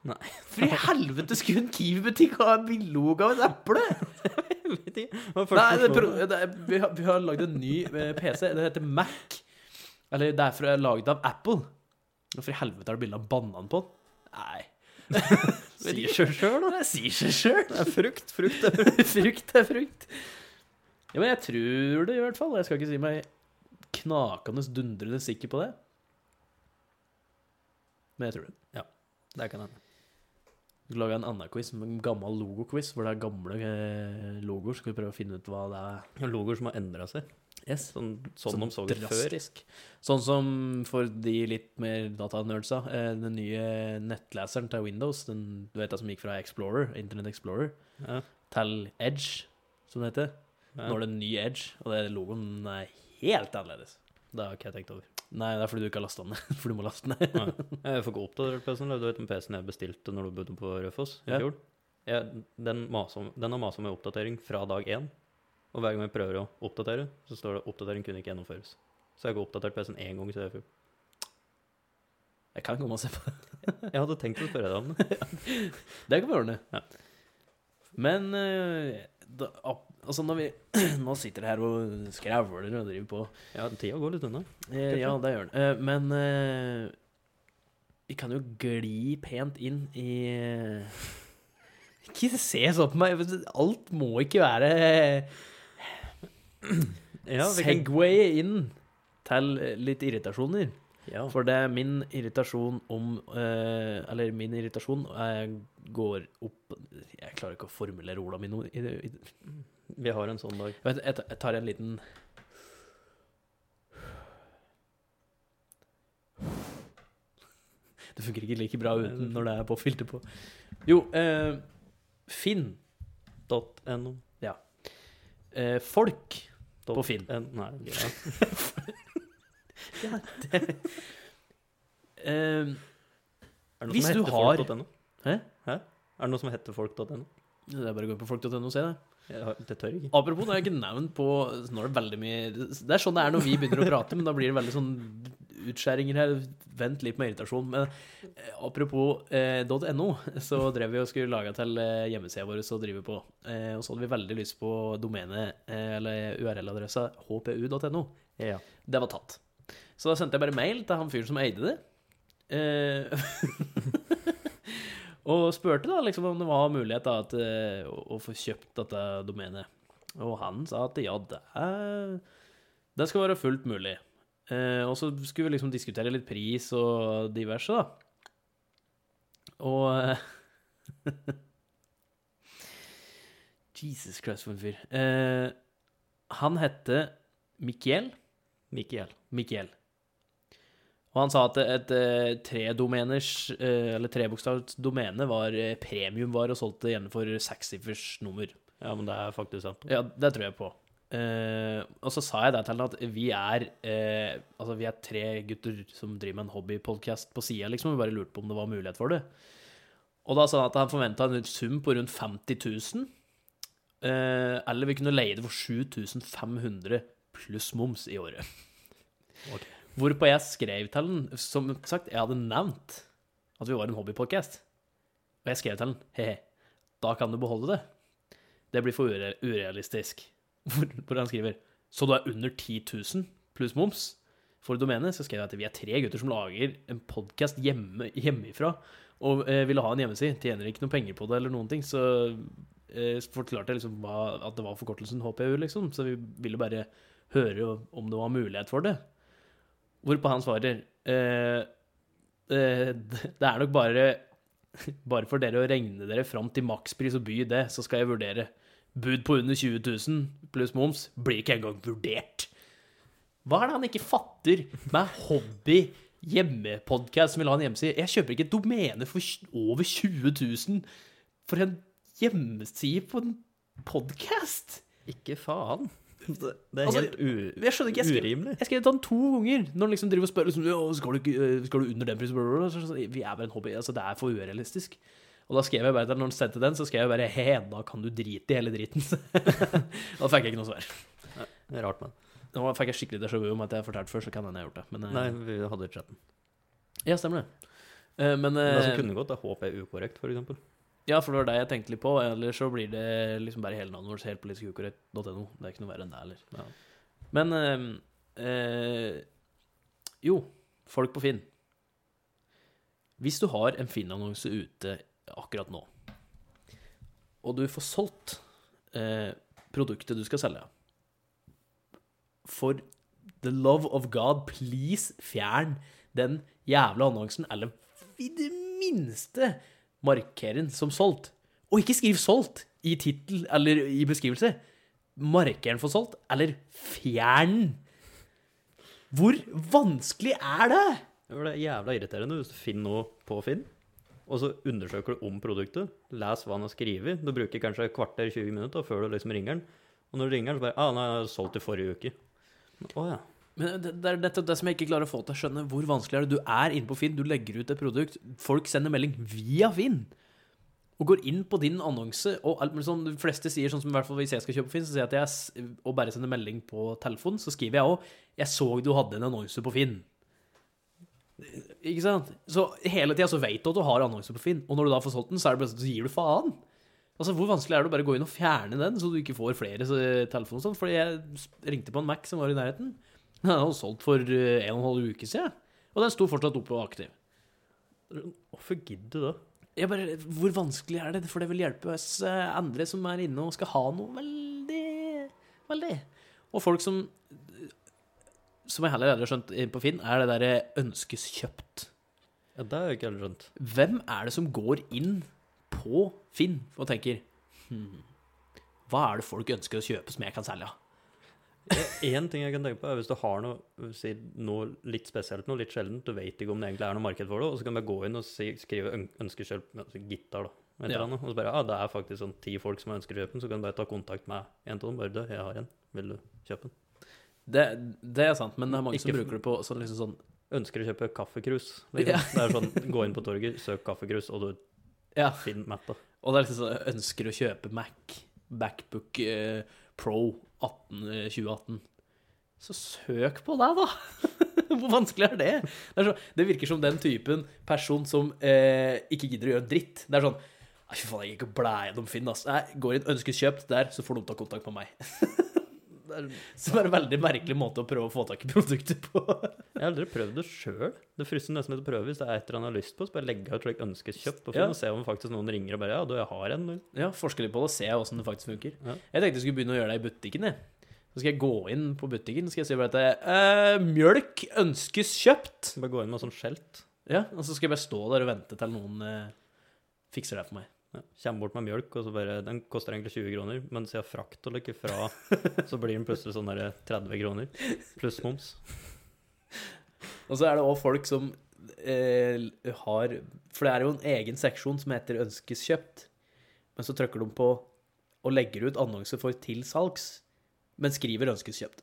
Speaker 1: Nei.
Speaker 2: For i helvete skulle en Kiwi-butikk ha en billogo av et eple?
Speaker 1: [laughs] Jeg vet ikke. Det var første
Speaker 2: Nei, det,
Speaker 1: som
Speaker 2: er pro-
Speaker 1: slo meg.
Speaker 2: det er, vi har, vi har lagd en ny eh, PC. Den heter Mac. [laughs] Eller det er fra laget av Apple. Hvorfor i helvete er det bilde av banan på den? Nei.
Speaker 1: Sier seg sjøl, da.
Speaker 2: Det sier seg sjøl.
Speaker 1: Det er frukt. Frukt
Speaker 2: [laughs]
Speaker 1: er
Speaker 2: frukt er frukt. Ja, men jeg tror det, i hvert fall. Jeg skal ikke si meg knakende dundrende sikker på det. Men jeg tror det.
Speaker 1: Det kan hende.
Speaker 2: Vi skal lage en annen quiz, en gammel logo-quiz, hvor det er gamle eh, logoer. Skal vi prøve å finne ut hva det er?
Speaker 1: Logoer som har endra seg.
Speaker 2: Yes.
Speaker 1: Sånn, sånn de så ut før.
Speaker 2: drastisk. Sånn som for de litt mer datanerdsa, eh, den nye nettleseren til Windows, den, du vet det som gikk fra Explorer, Internet Explorer,
Speaker 1: Ja.
Speaker 2: til Edge, som det heter. Nå er det en ny Edge, og det logoen er helt annerledes.
Speaker 1: Det har ikke jeg tenkt over.
Speaker 2: Nei, det er fordi du ikke har lasta den ned. [laughs] For du må laste den ned.
Speaker 1: Nei. Jeg får ikke oppdatert PC-en. Du vet den PC-en jeg bestilte når du bodde på Rødfoss i
Speaker 2: Ja.
Speaker 1: fjor? Jeg, den, maser om- den har masa med oppdatering fra dag én. Og hver gang jeg prøver å oppdatere, så står det 'oppdatering kunne ikke gjennomføres'. Så jeg har ikke oppdatert PC-en én gang siden i fjor.
Speaker 2: Jeg kan komme og se på det.
Speaker 1: Jeg hadde tenkt å spørre deg om det.
Speaker 2: Det kan vi ordne.
Speaker 1: Ja.
Speaker 2: Men eh, da, ap- altså når vi [clears throat] nå sitter vi her og skravler og driver på
Speaker 1: Ja, tida går litt unna.
Speaker 2: Eh, ja, det gjør den. Eh, men eh, vi kan jo gli pent inn i eh, [laughs] Ikke se sånn på meg. Alt må ikke være
Speaker 1: [clears throat] Ja, vi kan...
Speaker 2: Segway inn til litt irritasjoner.
Speaker 1: ja.
Speaker 2: For det er min irritasjon om eh, Eller min irritasjon eh, går opp Jeg klarer ikke å formulere ordene mine. nå. I, i,
Speaker 1: Vi har en sånn dag.
Speaker 2: Vent, jeg ta- jeg tar en liten Det funker ikke like bra uten når det er påfilter på. Jo, eh, Finn.
Speaker 1: Dot .no.
Speaker 2: Eh, folk.
Speaker 1: Dot
Speaker 2: På Finn.
Speaker 1: N- Nei, ja.
Speaker 2: Eh,
Speaker 1: Er det noe
Speaker 2: Hvis
Speaker 1: som
Speaker 2: du
Speaker 1: heter
Speaker 2: har-
Speaker 1: folk.no?
Speaker 2: Hæ?
Speaker 1: Hæ? Er det noe som heter folk.no?
Speaker 2: det er bare å gå inn på folk.no og se det.
Speaker 1: Jeg har- Det tør jeg ikke.
Speaker 2: Apropos, det er ikke nevnt på Nå er det veldig mye Det er sånn det er når vi begynner å prate, men da blir det veldig sånn utskjæringer her. Vent litt med irritasjon. Men eh, apropos eh, .no, så drev vi og skulle lage til eh, hjemmesida vår å drive på. Eh, og så hadde vi veldig lyst på domenet, eh, eller URL-adressa hpu.no.
Speaker 1: Ja.
Speaker 2: Det var tatt. Så da sendte jeg bare mail til han fyren som eide det. Eh, [laughs] og spurte da liksom om det var mulighet da, at, eh, å, å få kjøpt dette domenet. Og han sa at ja, det, er, det skal være fullt mulig. Eh, og så skulle vi liksom diskutere litt pris og diverse, da. Og eh, [laughs] Jesus Christ, for en fyr. Eh, han hette Mikiel.
Speaker 1: Mikael.
Speaker 2: Mikael. Og han sa at et eh, tredomeners, eh, eller trebokstavs domene, var eh, premiumvare og solgte gjerne for sekssifers nummer.
Speaker 1: Ja, men det er faktisk sant.
Speaker 2: Ja, det tror jeg på. Eh, og så sa jeg det til han at vi er eh, Altså, vi er tre gutter som driver med en hobbypodkast på sida, liksom. Vi bare lurte på om det var mulighet for det. Og da sa han at han forventa en sum på rundt 50 000. eh, eller vi kunne leie det for 7500 pluss moms i året.
Speaker 1: Ok.
Speaker 2: Hvorpå jeg skrev til han Som sagt, jeg hadde nevnt at vi var en hobbypodkast. Og jeg skrev til han he-he, da kan du beholde det. Det blir for ure urealistisk. [laughs] Hvor, hvor han skriver Så du er under 10 000 pluss moms for domenet? Så skrev jeg at vi er tre gutter som lager en podkast hjemme, hjemmefra og eh, ville ha en hjemmeside. Tjener ikke noe penger på det eller noen ting. Så eh, så forklarte jeg liksom hva, at det var forkortelsen HPU, liksom. Så vi ville bare høre om det var mulighet for det. Hvorpå han svarer eh, eh, Det er nok bare [laughs] Bare for dere å regne dere fram til makspris og by det, så skal jeg vurdere. Bud på under 20 000 pluss moms blir ikke engang vurdert. Hva er det han ikke fatter med hobby, hjemmepodkast som vil ha en hjemmeside? Jeg kjøper ikke et domene for tj- over 20 000 for en hjemmeside på en podkast!
Speaker 1: Ikke faen. Det, det er
Speaker 2: Altså,
Speaker 1: helt u
Speaker 2: Jeg skjønner ikke. Jeg skrev-
Speaker 1: urimelig.
Speaker 2: jeg skrev til han to ganger, når han liksom driver og spør liksom, «Ja, skal, du, ikke- øh, skal du under den prisen. Bla, bla, bla. Så, så, vi er bare en hobby. Altså, det er for urealistisk. Og da skrev jeg bare, når han sendte den, så skrev jeg bare He, da kan du drite i hele driten. [laughs] da fikk jeg ikke noe svar.
Speaker 1: Det er Rart, men.
Speaker 2: Nå fikk jeg skikkelig déjà vu om at jeg fortalte før, så kan hende jeg har gjort det. Men, eh,
Speaker 1: Nei, vi hadde ikke chatten.
Speaker 2: Ja, stemmer det. Eh, Men,
Speaker 1: Men det som
Speaker 2: eh,
Speaker 1: kunne gått, er HPU korrekt, for eksempel.
Speaker 2: ja, for det var det jeg tenkte litt på. Ellers så blir det liksom bare hele navnet vårt helt politisk ukorrekt.no. Det er ikke noe verre enn det heller.
Speaker 1: Ja.
Speaker 2: Men eh, eh, Jo, folk på Finn. Hvis du har en Finn-annonse ute akkurat nå, og du får solgt eh, produktet du skal selge For the love of God, please fjern den jævla annonsen, eller i det minste marker den som solgt. Og ikke skriv 'solgt' i tittel eller i beskrivelse. Marker den for solgt, eller fjern den. Hvor vanskelig er det?
Speaker 1: For Det er jævla irriterende hvis du finner noe på Finn, og så undersøker du om produktet. Les hva han har skrevet. Du bruker kanskje et kvarter, 20 minutter før du liksom ringer han. Og når du ringer han, så bare ah, 'Nei, jeg har solgt i forrige uke'. Å ja.
Speaker 2: Men det, det er nettopp det som jeg ikke klarer å få til å skjønne. Hvor vanskelig er det? Du er inne på Finn, du legger ut et produkt. Folk sender melding via Finn. Og går inn på din annonse, og alt, mulig sånn, de fleste sier sånn som i hvert fall hvis jeg skal kjøpe på Finn, så sier jeg at jeg s- og bare sender melding på telefon, så skriver jeg òg 'Jeg så du hadde en annonse på Finn'. Ikke sant? Så hele tida så vet du at du har annonse på Finn, og når du da får solgt den, så, er det bare, sånn, så gir du faen. Altså, Hvor vanskelig er det å bare gå inn og fjerne den, så du ikke får flere så- telefoner? og Sånn? Fordi jeg s- ringte på en Mac som var i nærheten. Den hadde [laughs] han solgt for eh, en og en halv uke siden, og den sto fortsatt oppe og aktiv.
Speaker 1: Hvorfor gidder du det?
Speaker 2: Jeg bare, Hvor vanskelig er det? For det vil hjelpe oss eh, andre som er inne og skal ha noe veldig Veldig. Og folk som Som jeg heller aldri har skjønt på Finn, er det derre ønskes kjøpt.
Speaker 1: Ja, det har jeg ikke helt skjønt.
Speaker 2: Hvem er det som går inn på Finn og tenker hmm, Hva er det folk ønsker å kjøpe som jeg kan selge?
Speaker 1: Én Eh, ting jeg kan tenke på, er hvis du har noe, si, noe litt spesielt, noe litt sjeldent, du vet ikke om det egentlig er noe marked for det, og så kan du bare gå inn og si, skrive øn- ønskekjøp, altså gitar, da. et eller
Speaker 2: Ja.
Speaker 1: annet, Og så bare ja, det er faktisk sånn ti folk som ønsker å kjøpe den, så kan du bare ta kontakt med en av dem. Bare du, jeg har en, vil du kjøpe den?
Speaker 2: Det, det er sant, men det er mange som
Speaker 1: Ikke-
Speaker 2: bruker det på sånn, liksom sånn
Speaker 1: Ønsker å kjøpe kaffekrus. Liksom.
Speaker 2: Ja.
Speaker 1: Det er sånn, gå inn på torget, søk kaffekrus, og du
Speaker 2: Ja.
Speaker 1: finner Matt, da.
Speaker 2: Og det er liksom sånn, jeg ønsker å kjøpe Mac, Backbook eh, Pro 18, eh, 2018. Så søk på deg, da! [laughs] Hvor vanskelig er det? Det, er så, det virker som den typen person som eh, ikke gidder å gjøre dritt. Det er sånn «Nei, Fy faen, jeg gikk og blæ gjennom Finn, ass. Nei, går inn, ønsker kjøpt der, så får de ta kontakt med meg. [laughs] Som er en veldig merkelig måte å prøve å få tak i produktet på.
Speaker 1: Jeg har aldri prøvd det sjøl. Det frister nesten litt å prøve hvis det er et eller annet jeg har lyst på. Så bare legge ut like, ønskekjøp på Finn,
Speaker 2: Ja.
Speaker 1: og se om faktisk noen ringer og bare ja, du, jeg har en. du».
Speaker 2: Ja, forske litt på det og se hvordan det faktisk funker.
Speaker 1: Ja.
Speaker 2: Jeg tenkte jeg skulle begynne å gjøre det i butikken. Jeg. Så skal jeg gå inn på butikken så skal jeg si bare at jeg, eh, mjølk ønskes kjøpt.
Speaker 1: Bare gå inn med sånn skjelt.
Speaker 2: Ja, Og så skal jeg bare stå der og vente til noen eh, fikser det for meg.
Speaker 1: Ja. Kommer bort med mjølk, og så bare Den koster egentlig 20 kroner, men siden frakt og like fra, så blir den plutselig sånn der 30 kroner. Pluss moms.
Speaker 2: Og så er det òg folk som eh, har For det er jo en egen seksjon som heter 'ønskes kjøpt', men så trykker de på og legger ut annonse for 'til salgs', men skriver 'ønskes kjøpt'.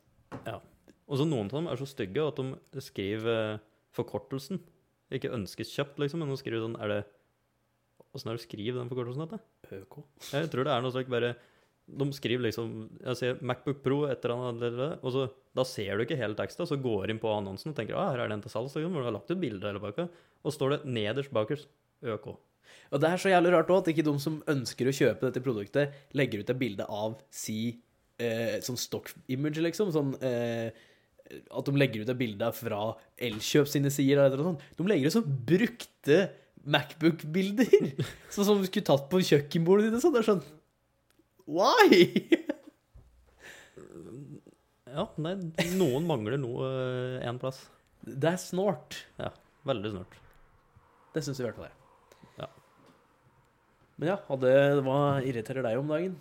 Speaker 1: Og så noen av dem er så stygge at de skriver eh, forkortelsen. Ikke ønskes kjøpt, liksom, men de skriver sånn Er det Åssen er det å skrive den forkortelsen? Dette?
Speaker 2: ØK.
Speaker 1: Jeg tror det er noe slik bare De skriver liksom Jeg sier Macbook Pro et eller annet, eller annet, og så da ser du ikke hele teksten, så går du inn på annonsen og tenker ah, her er den til salgs, liksom, hvor du har lagt ut bilde hele pakka, og står det nederst bakerst ØK.
Speaker 2: Og det er så jævlig rart òg at ikke de som ønsker å kjøpe dette produktet, legger ut et bilde av si eh, sånn stock image, liksom. Sånn eh, At de legger ut et bilde fra Elkjøp sine sider eller noe sånt. De legger ut sånn brukte Macbook-bilder! [laughs] Sånn som du skulle tatt på kjøkkenbordet ditt og sånn. Det er sånn Why? [laughs]
Speaker 1: Ja, nei, noen mangler noe eh, en plass.
Speaker 2: Det er snålt.
Speaker 1: Veldig snart.
Speaker 2: Det syns i hvert fall jeg.
Speaker 1: Ja.
Speaker 2: Men ja, hadde, hva irriterer deg om dagen?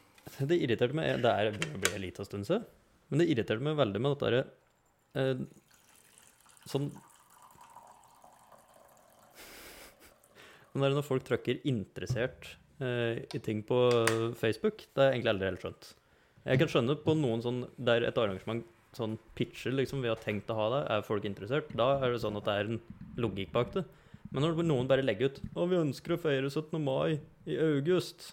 Speaker 1: [laughs] Det irriterte meg Det er det ble en liten stund siden, men det irriterte meg veldig med dette derre eh, Sånn [laughs] Men det er når folk trykker 'interessert' eh, i ting på Facebook. Det har jeg egentlig aldri helt skjønt. Jeg kan skjønne på noen sånn der et arrangement sånn pitcher liksom vi har tenkt å ha det, er folk interessert. Da er det sånn at det er en logikk bak det. Men når noen bare legger ut 'Å, vi ønsker å feire 17. mai i august',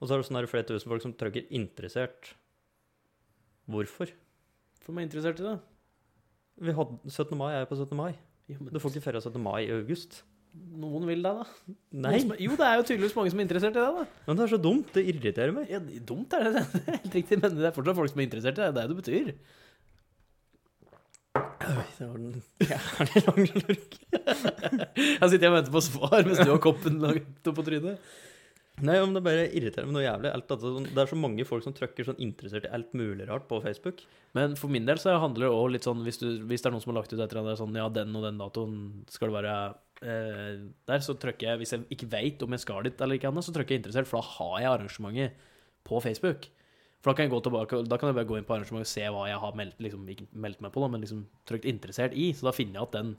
Speaker 1: og så er det sånn her flere tusen folk som trykker 'interessert'. Hvorfor?
Speaker 2: For meg interessert i det.
Speaker 1: Vi hadde 17. mai er på 17. mai.
Speaker 2: Jo, men
Speaker 1: Du får ikke feire 17. mai i august.
Speaker 2: Noen vil deg, da.
Speaker 1: Nei,
Speaker 2: Noen som- Jo, det er jo tydeligvis mange som er interessert i det, da.
Speaker 1: men det er så dumt. Det irriterer meg.
Speaker 2: Ja, dumt er det, det [laughs] er helt riktig, men det er fortsatt folk som er interessert i det. Det er det det betyr.
Speaker 1: Oi, det var den jævlig lange lurken.
Speaker 2: Jeg sitter og venter på svar mens du har koppen langt opp på trynet.
Speaker 1: [laughs] Nei, men det bare irriterer meg noe jævlig. Alt, dette sånn- det er så mange folk som trykker sånn interessert i alt mulig rart på Facebook.
Speaker 2: Men for min del så handler det også litt sånn hvis, du, hvis det er noen som har lagt ut et eller annet sånn Ja, den og den datoen skal det være eh, der, så trykker jeg Hvis jeg ikke veit om jeg skal dit eller ikke annet, så trykker jeg interessert, for da har jeg arrangementet på Facebook. For da kan jeg gå tilbake, da kan jeg bare gå inn på arrangementet og se hva jeg har meldt, liksom, ikke meldt meg på, da, men liksom trykt interessert i. Så da finner jeg at den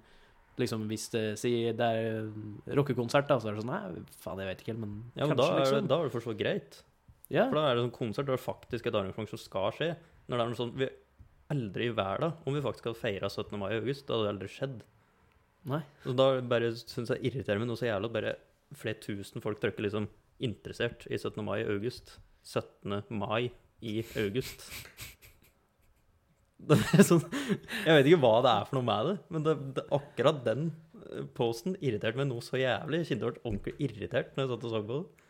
Speaker 2: liksom, Hvis det, si, det er rockekonsert, da, så er det sånn Nei, faen, jeg vet ikke helt, men
Speaker 1: Ja, men da er,
Speaker 2: liksom-
Speaker 1: det, da er det for så vidt greit.
Speaker 2: Ja.
Speaker 1: For da er det sånn konsert, det er faktisk et arrangement som skal skje. Når det er noe sånn vi Aldri i verden, om vi faktisk hadde feira 17. mai i august, det hadde aldri skjedd.
Speaker 2: Nei.
Speaker 1: Så da bare syns jeg irriterer meg noe så jævlig at bare flere tusen folk trykker liksom 'interessert i 17. mai i august'. 17. mai i august. Det er sånn, jeg vet ikke hva det er for noe med det, men det, det, akkurat den eh, posten irriterte meg noe så jævlig. Jeg kjente jeg ble ordentlig irritert når jeg satt og så på det.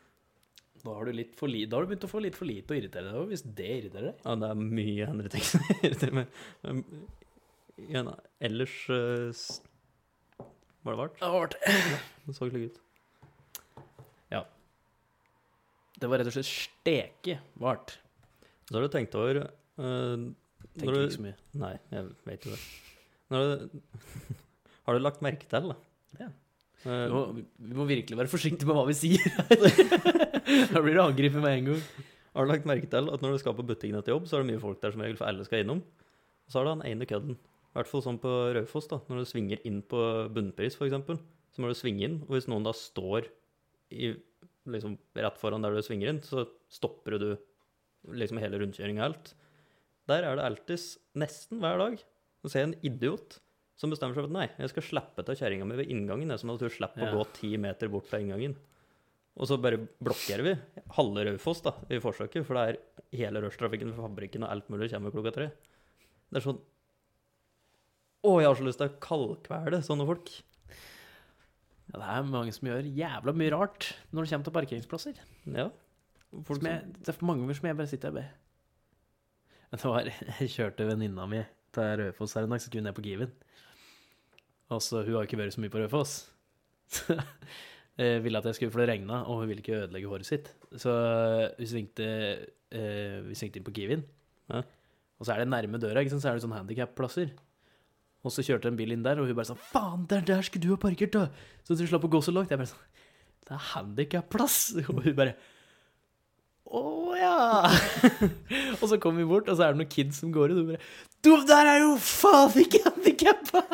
Speaker 2: Da har, du litt for li da har du begynt å få litt for lite å irritere deg over, hvis det irriterer deg.
Speaker 1: Ja, det er mye andre ting som [laughs] irriterer meg. Um, ja, nei, ellers eh, s- Var det vart?
Speaker 2: Det var,
Speaker 1: Det så slik ut.
Speaker 2: det var rett og slett steke vart.
Speaker 1: Så har du tenkt over eh, når
Speaker 2: Tenker
Speaker 1: du,
Speaker 2: ikke så mye.
Speaker 1: Nei, jeg vet jo det. Når du, [laughs] har du lagt merke til, da?
Speaker 2: Ja.
Speaker 1: Eh,
Speaker 2: Vi må, vi må virkelig være forsiktige med hva vi
Speaker 1: [laughs]
Speaker 2: sier her. da blir det angrepet med en gang.
Speaker 1: Har du lagt merke til at når du skal på butikken etter jobb, så er det mye folk der som regel, for alle skal innom. Og så er det han ene kødden. I hvert fall sånn på Raufoss, da. Når du svinger inn på bunnpris, for eksempel, så må du svinge inn. Og hvis noen da står i, liksom, rett foran der du svinger inn, så stopper du liksom hele rundkjøringa og alt. Der er det alltid, nesten hver dag, å se en idiot som bestemmer seg for at nei, jeg skal slippe til kjerringa mi ved inngangen, jeg, som at hun slipper
Speaker 2: Ja.
Speaker 1: å gå ti meter bort fra inngangen. Og så bare blokkerer vi halve Raufoss da, i forsøket, for det er hele rushtrafikken fra fabrikken og alt mulig kommer klokka tre. Det er sånn Å, jeg har så lyst til å kaldkvele sånne folk.
Speaker 2: Ja, det er mange som gjør jævla mye rart når det kommer til parkeringsplasser.
Speaker 1: Ja. Folk
Speaker 2: Som jeg, det er for mange ganger som jeg bare sitter og ber. [laughs] Det var, jeg kjørte venninna mi til Raufoss her en dag, så skulle hun ned på Kiwien. Og så, hun har jo ikke vært så mye på Raufoss. [laughs] Så eh, ville at jeg skulle, for det regna, og hun ville ikke ødelegge håret sitt. Så hun svingte, eh, vi svingte inn på Kiwien.
Speaker 1: Ja.
Speaker 2: Og så er det nærme døra, ikke sant? så er det sånn handikapplasser. Og så kjørte en bil inn der, og hun bare sånn Faen, der, der skulle du ha parkert, da! Så du slapp å gå så langt. Jeg bare sånn Det er handikapplass! [laughs] Og hun bare å ja! [laughs] og så kommer vi bort, og så er det noen kids som går ut. Og bare Du, der er jo faen ikke handikappa!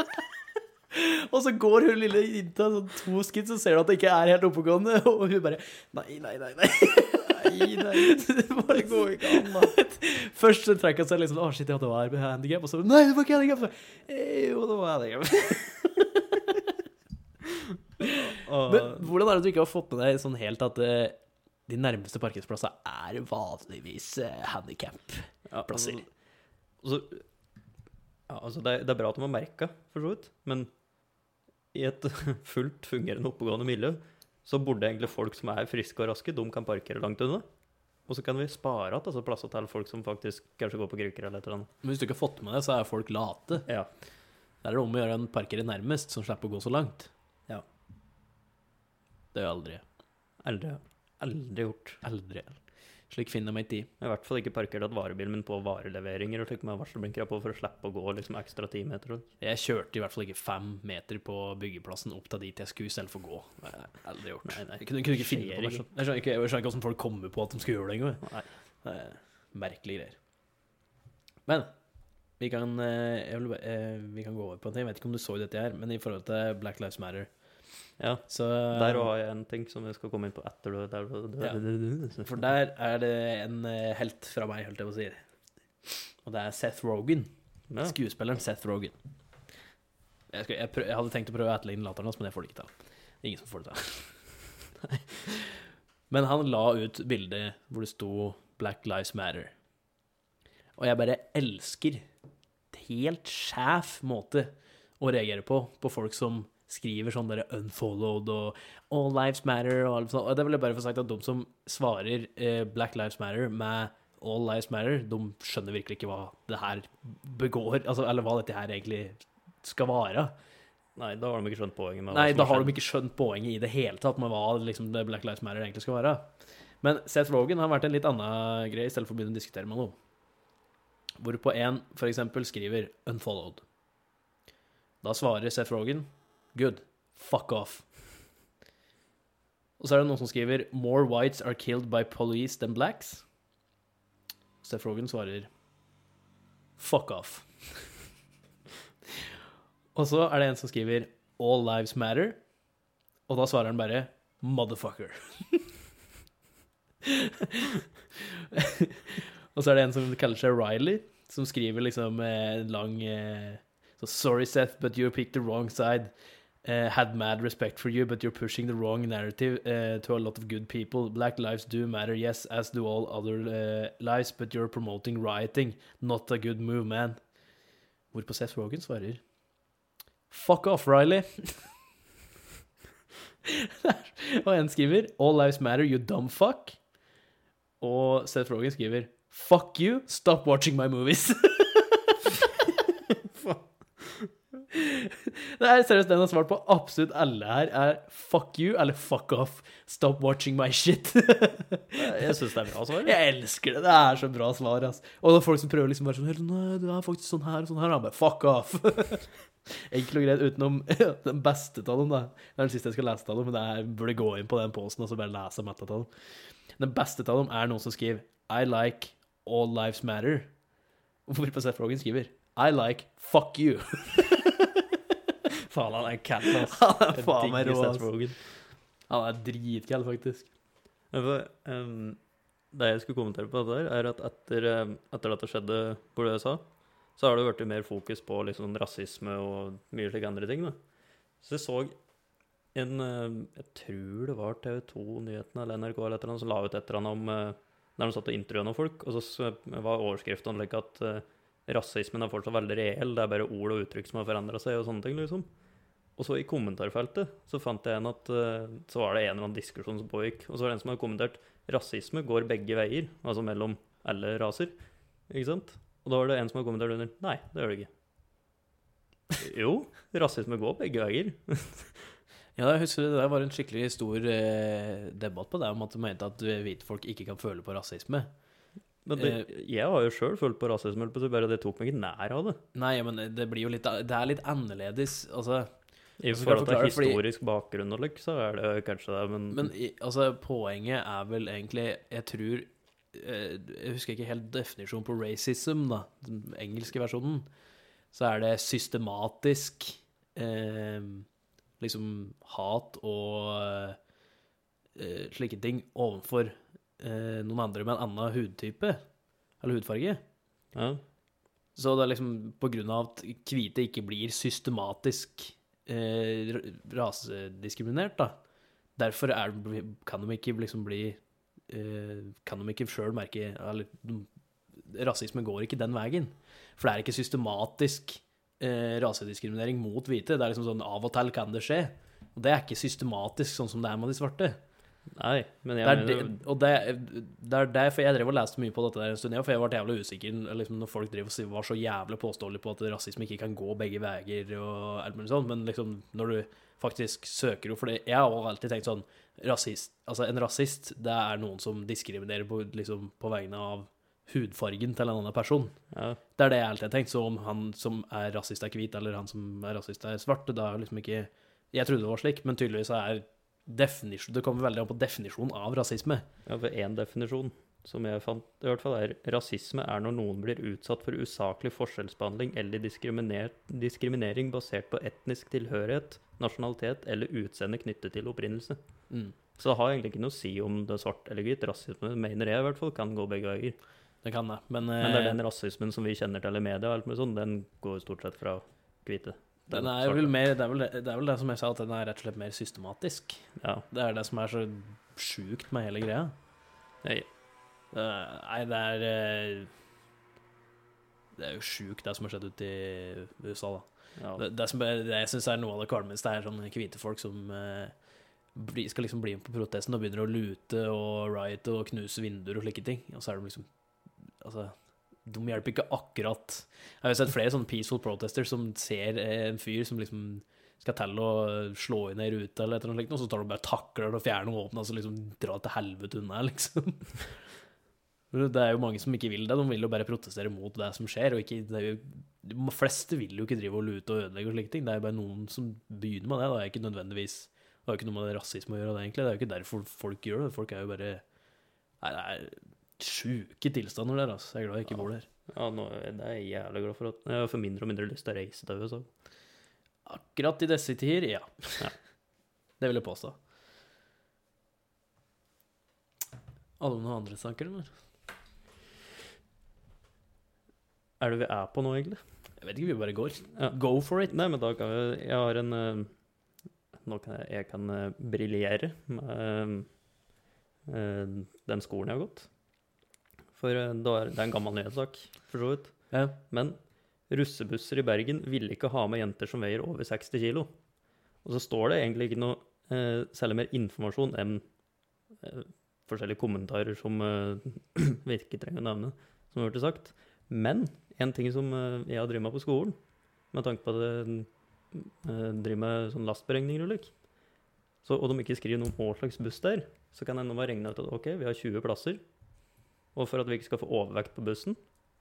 Speaker 2: [laughs] og så går hun lille jenta sånn to skritt, så ser du at det ikke er helt oppegående. [laughs] Og hun bare Nei, nei, nei. nei.
Speaker 1: Nei,
Speaker 2: [laughs]
Speaker 1: nei,
Speaker 2: Bare
Speaker 1: det går ikke an, da.
Speaker 2: liksom [laughs] Først så trakk han seg liksom Å, shit, ja, det var handikap. Og så Nei, det var ikke handikap. Jo, det var
Speaker 1: [laughs]
Speaker 2: handikap.
Speaker 1: Og,
Speaker 2: Men hvordan er det du ikke har fått med deg sånn helt at eh, de nærmeste parkeringsplassene er vanligvis eh, handikap?
Speaker 1: ja,
Speaker 2: plasser.
Speaker 1: altså- altså, ja, altså det, er, det er bra at de har merka, for så vidt, men i et [laughs] fullt fungerende, oppegående miljø så burde egentlig folk som er friske og raske, de kan parkere langt unna. Og så kan vi spare igjen altså, plasser til folk som faktisk kanskje går på krykker eller et eller annet.
Speaker 2: Men hvis du ikke har fått med det, så er folk late.
Speaker 1: Ja.
Speaker 2: Der er det om å gjøre en parker nærmest, som slipper å gå så langt.
Speaker 1: Ja.
Speaker 2: Det er jo aldri.
Speaker 1: Aldri, aldri gjort.
Speaker 2: Aldri. Slik finner meg tid.
Speaker 1: Jeg har I hvert fall ikke parkert at varebilen min på vareleveringer og slik med varselblinker på for å slippe å gå liksom ekstra ti meter. og-
Speaker 2: Jeg kjørte i hvert fall ikke fem meter på byggeplassen opp til dit jeg skulle selv få gå. Det har jeg aldri gjort.
Speaker 1: Nei, nei.
Speaker 2: Jeg kunne, kunne ikke finne
Speaker 1: Skjer
Speaker 2: på det.
Speaker 1: ikke.
Speaker 2: Jeg skjønner ikke, jeg skjønner ikke hvordan folk kommer på at de skal gjøre det engang.
Speaker 1: Nei.
Speaker 2: Det er Merkelige greier. Men vi kan, eh, jeg vil, bare- eh, vi kan gå over på en ting. Jeg vet ikke om du så dette her, men i forhold til Black Lives Matter
Speaker 1: Ja.
Speaker 2: så,
Speaker 1: Der også har jeg en ting som jeg skal komme inn på etter du der, du- du-
Speaker 2: Ja.
Speaker 1: du- du- du-
Speaker 2: For der er det en eh, helt fra meg, holdt jeg på å si. Og det er Seth Rogan.
Speaker 1: Ja.
Speaker 2: Skuespilleren Seth Rogan. Jeg, skal, jeg, prø jeg hadde tenkt å prøve å etterligne latteren hans, men det får det ikke til. Det er Ingen som får det til. [laughs] men han la ut bilde hvor det sto 'Black Lives Matter'. Og jeg bare elsker et helt skjæv måte å reagere på, på folk som skriver sånn derre 'unfollowed' og 'all lives matter' og alt sånt. Og det vil jeg bare få sagt at de som svarer eh, 'Black Lives Matter' med 'all lives matter', de skjønner virkelig ikke hva det her begår, altså, eller hva dette her egentlig skal være.
Speaker 1: Nei, da har de ikke skjønt poenget. med hva
Speaker 2: Nei,
Speaker 1: som
Speaker 2: da har
Speaker 1: skjedd.
Speaker 2: de ikke skjønt poenget i det hele tatt med hva liksom, det Black Lives Matter egentlig skal være. Men Seth Rogan har vært en litt annen greie i stedet for å begynne å diskutere med noe. Hvorpå en for eksempel skriver 'unfollowed'. Da svarer Seth Rogan 'good, fuck off'. Og så er det noen som skriver 'more whites are killed by police than blacks'. Seth Rogan svarer 'fuck off'. [laughs] Og så er det en som skriver All lives matter. Og da svarer han bare motherfucker. [laughs] og så er det en som kaller seg Riley, som skriver liksom eh, en lang eh, så, Sorry, Seth, but you picked the wrong side. Eh, had mad respect for you, but you're pushing the wrong narrative eh, to a lot of good people. Black lives do matter, yes, as do all other eh, lives, but you're promoting rioting. Not a good move, man. Hvorpå Seth Rogan svarer Fuck off, Riley. [laughs] og en skriver All lives matter, you dumb fuck. Og Seth Rogen skriver Fuck you, stop watching my movies. [laughs] Det er seriøst den har svart på absolutt alle her, er fuck you eller fuck off. Stop watching my shit.
Speaker 1: Jeg syns det er
Speaker 2: [laughs]
Speaker 1: bra altså. svar.
Speaker 2: Jeg elsker det. Det er så bra svar. ass. Og det er folk som prøver liksom bare sånn «Helt, Nei, det er faktisk sånn her og sånn her. Og han bare fuck off. [laughs] Enkelt og greit utenom [laughs] den beste av dem. da. Det er den siste jeg skal lese av dem, men jeg burde gå inn på den posten og så bare lese mett av dem. Den beste av dem er noen som skriver I like all lives matter. Hvorpå Seth Rogen skriver I like fuck you. [laughs]
Speaker 1: Faen, han er cat, ass.
Speaker 2: Han er
Speaker 1: Jeg
Speaker 2: faen meg
Speaker 1: digger
Speaker 2: rå.
Speaker 1: Seth
Speaker 2: ass.
Speaker 1: Rogen.
Speaker 2: Han er dritkald, faktisk.
Speaker 1: Men for, ehm, det jeg skulle kommentere på dette, her, er at etter, um, etter at det skjedde på det USA, så har det vært mer fokus på liksom rasisme og mye slike andre ting. Da. Så jeg så en ehm, Jeg tror det var TV 2-nyhetene eller NRK eller et eller annet, som la ut et eller annet om eh, Der de satt og intervjuet noen folk, og så s- eh, var overskriften slik at eh, rasismen er fortsatt veldig reell, det er bare ord og uttrykk som har forandra seg, og sånne ting, liksom. Og så i kommentarfeltet så fant jeg en at eh, så var det en eller annen diskusjon som pågikk, og så var det en som hadde kommentert rasisme går begge veier, altså mellom alle raser, ikke sant? Og da var det en som hadde kommentert under nei, det gjør det ikke. Jo, rasisme går begge veier.
Speaker 2: Ja, jeg husker det der var en skikkelig stor eh, debatt på det, om at du mente at hvite folk ikke kan føle på rasisme.
Speaker 1: Men det,
Speaker 2: Eh.
Speaker 1: jeg har jo sjøl følt på rasisme, holdt på å si, bare det tok meg ikke nær av det.
Speaker 2: Nei, men det blir jo litt Det er litt annerledes, altså.
Speaker 1: I
Speaker 2: Så skal
Speaker 1: forhold til
Speaker 2: jeg forklare, fordi-
Speaker 1: historisk bakgrunn og lik, så er det kanskje det, men,
Speaker 2: Men i- altså, poenget er vel egentlig Jeg tror eh, Jeg husker ikke helt definisjonen på racism, da. Den engelske versjonen. Så er det systematisk eh, liksom hat og eh, slike ting overfor eh, noen andre med en annen hudtype eller hudfarge.
Speaker 1: ja.
Speaker 2: Så det er liksom på grunn av at hvite ikke blir systematisk eh, r- rasediskriminert, da. Derfor er, kan de ikke liksom bli eh, Kan de ikke sjøl merke eller, de- Rasisme går ikke den veien. For det er ikke systematisk eh, rasediskriminering mot hvite. Det er liksom sånn av og til kan det skje. Og det er ikke systematisk sånn som det er med de svarte.
Speaker 1: Nei, men jeg
Speaker 2: Det er
Speaker 1: mener
Speaker 2: det, og det, det er derfor jeg drev og leste mye på dette der en stund, ja, for jeg ble jævlig usikker liksom, når folk drev og si- var så jævlig påståelige på at rasisme ikke kan gå begge veier og alt mulig sånt, men liksom når du faktisk søker opp For det- jeg har også alltid tenkt sånn rasist, Altså, en rasist, det er noen som diskriminerer på, liksom, på vegne av hudfargen til en annen person.
Speaker 1: ja.
Speaker 2: Det er det jeg alltid har tenkt. Så om han som er rasist, er hvit, eller han som er rasist, er svart, da er liksom ikke Jeg trodde det var slik, men tydeligvis er definisjon Det kommer veldig an på definisjonen av rasisme.
Speaker 1: Ja, for én definisjon som jeg fant, i hvert fall er rasisme er når noen blir utsatt for usaklig forskjellsbehandling eller diskriminer diskriminering basert på etnisk tilhørighet, nasjonalitet eller utseende knyttet til opprinnelse.
Speaker 2: Mm.
Speaker 1: Så det har egentlig ikke noe å si om det er svart eller hvitt. Rasisme mener jeg i hvert fall kan gå begge veier.
Speaker 2: Det kan det. Men,
Speaker 1: Men det er
Speaker 2: eh,
Speaker 1: den rasismen som vi kjenner til i media, og alt mulig sånn, den går jo stort sett fra hvite.
Speaker 2: den er vel mer, det, er vel, det er vel det som jeg sa, at den er rett og slett mer systematisk.
Speaker 1: Ja.
Speaker 2: Det er det som er så sjukt med hele greia.
Speaker 1: Jeg,
Speaker 2: Det er- Nei, det er eh, Det er jo sjukt, det som har skjedd ute i USA, da.
Speaker 1: ja.
Speaker 2: Det, det, som er, det jeg syns er noe av det kvalmeste, er sånne hvite folk som eh, bli, skal liksom bli med på protesten og begynner å lute og riote og knuse vinduer og slike ting. Og så er de liksom Altså, de hjelper ikke akkurat Jeg har jo sett flere sånne peaceful protesters som ser eh, en fyr som liksom skal til å slå inn ei rute, eller et eller annet slikt, og så tar du bare takler og fjerner våpenet, og så liksom drar til helvete unna, [laughs] liksom. Men Det er jo mange som ikke vil det. De vil jo bare protestere mot det som skjer. og ikke, det er jo, De fleste vil jo ikke drive og lute og ødelegge og slike ting. Det er jo bare noen som begynner med det. Det er ikke nødvendigvis Det har jo ikke noe med rasisme å gjøre, det egentlig. Det er jo ikke derfor folk gjør det. Folk er jo bare Nei, det er sjuke tilstander der, altså. Jeg er glad jeg ikke bor der.
Speaker 1: Ja, nå, det er jeg jævlig glad for. at Jeg får mindre og mindre lyst til å reise til USA.
Speaker 2: Akkurat i disse tider, ja. [laughs] Det vil jeg påstå. Hadde du noen andre saker, eller?
Speaker 1: Er det vi er på nå, egentlig?
Speaker 2: Jeg vet ikke, vi bare går.
Speaker 1: Ja.
Speaker 2: Go for it.
Speaker 1: Nei, men da kan jeg Jeg har en eh, Nå kan jeg, jeg kan eh, briljere med eh, eh, den skolen jeg har gått. For eh, det er det er en gammel nyhetssak, for så vidt.
Speaker 2: Ja.
Speaker 1: Men russebusser i Bergen ville ikke ha med jenter som veier over 60 kilo. Og så står det egentlig ikke noe eh, særlig mer informasjon enn eh, forskjellige kommentarer som eh, [clears throat] vi ikke trenger å nevne, som har blitt sagt. Men en ting som eh, jeg har drevet med på skolen, med tanke på at jeg eh, driver med sånn lastberegninger og lik, så, og de ikke skriver noe om hva slags buss det er, så kan jeg nå bare regne ut at ok, vi har 20 plasser, og for at vi ikke skal få overvekt på bussen,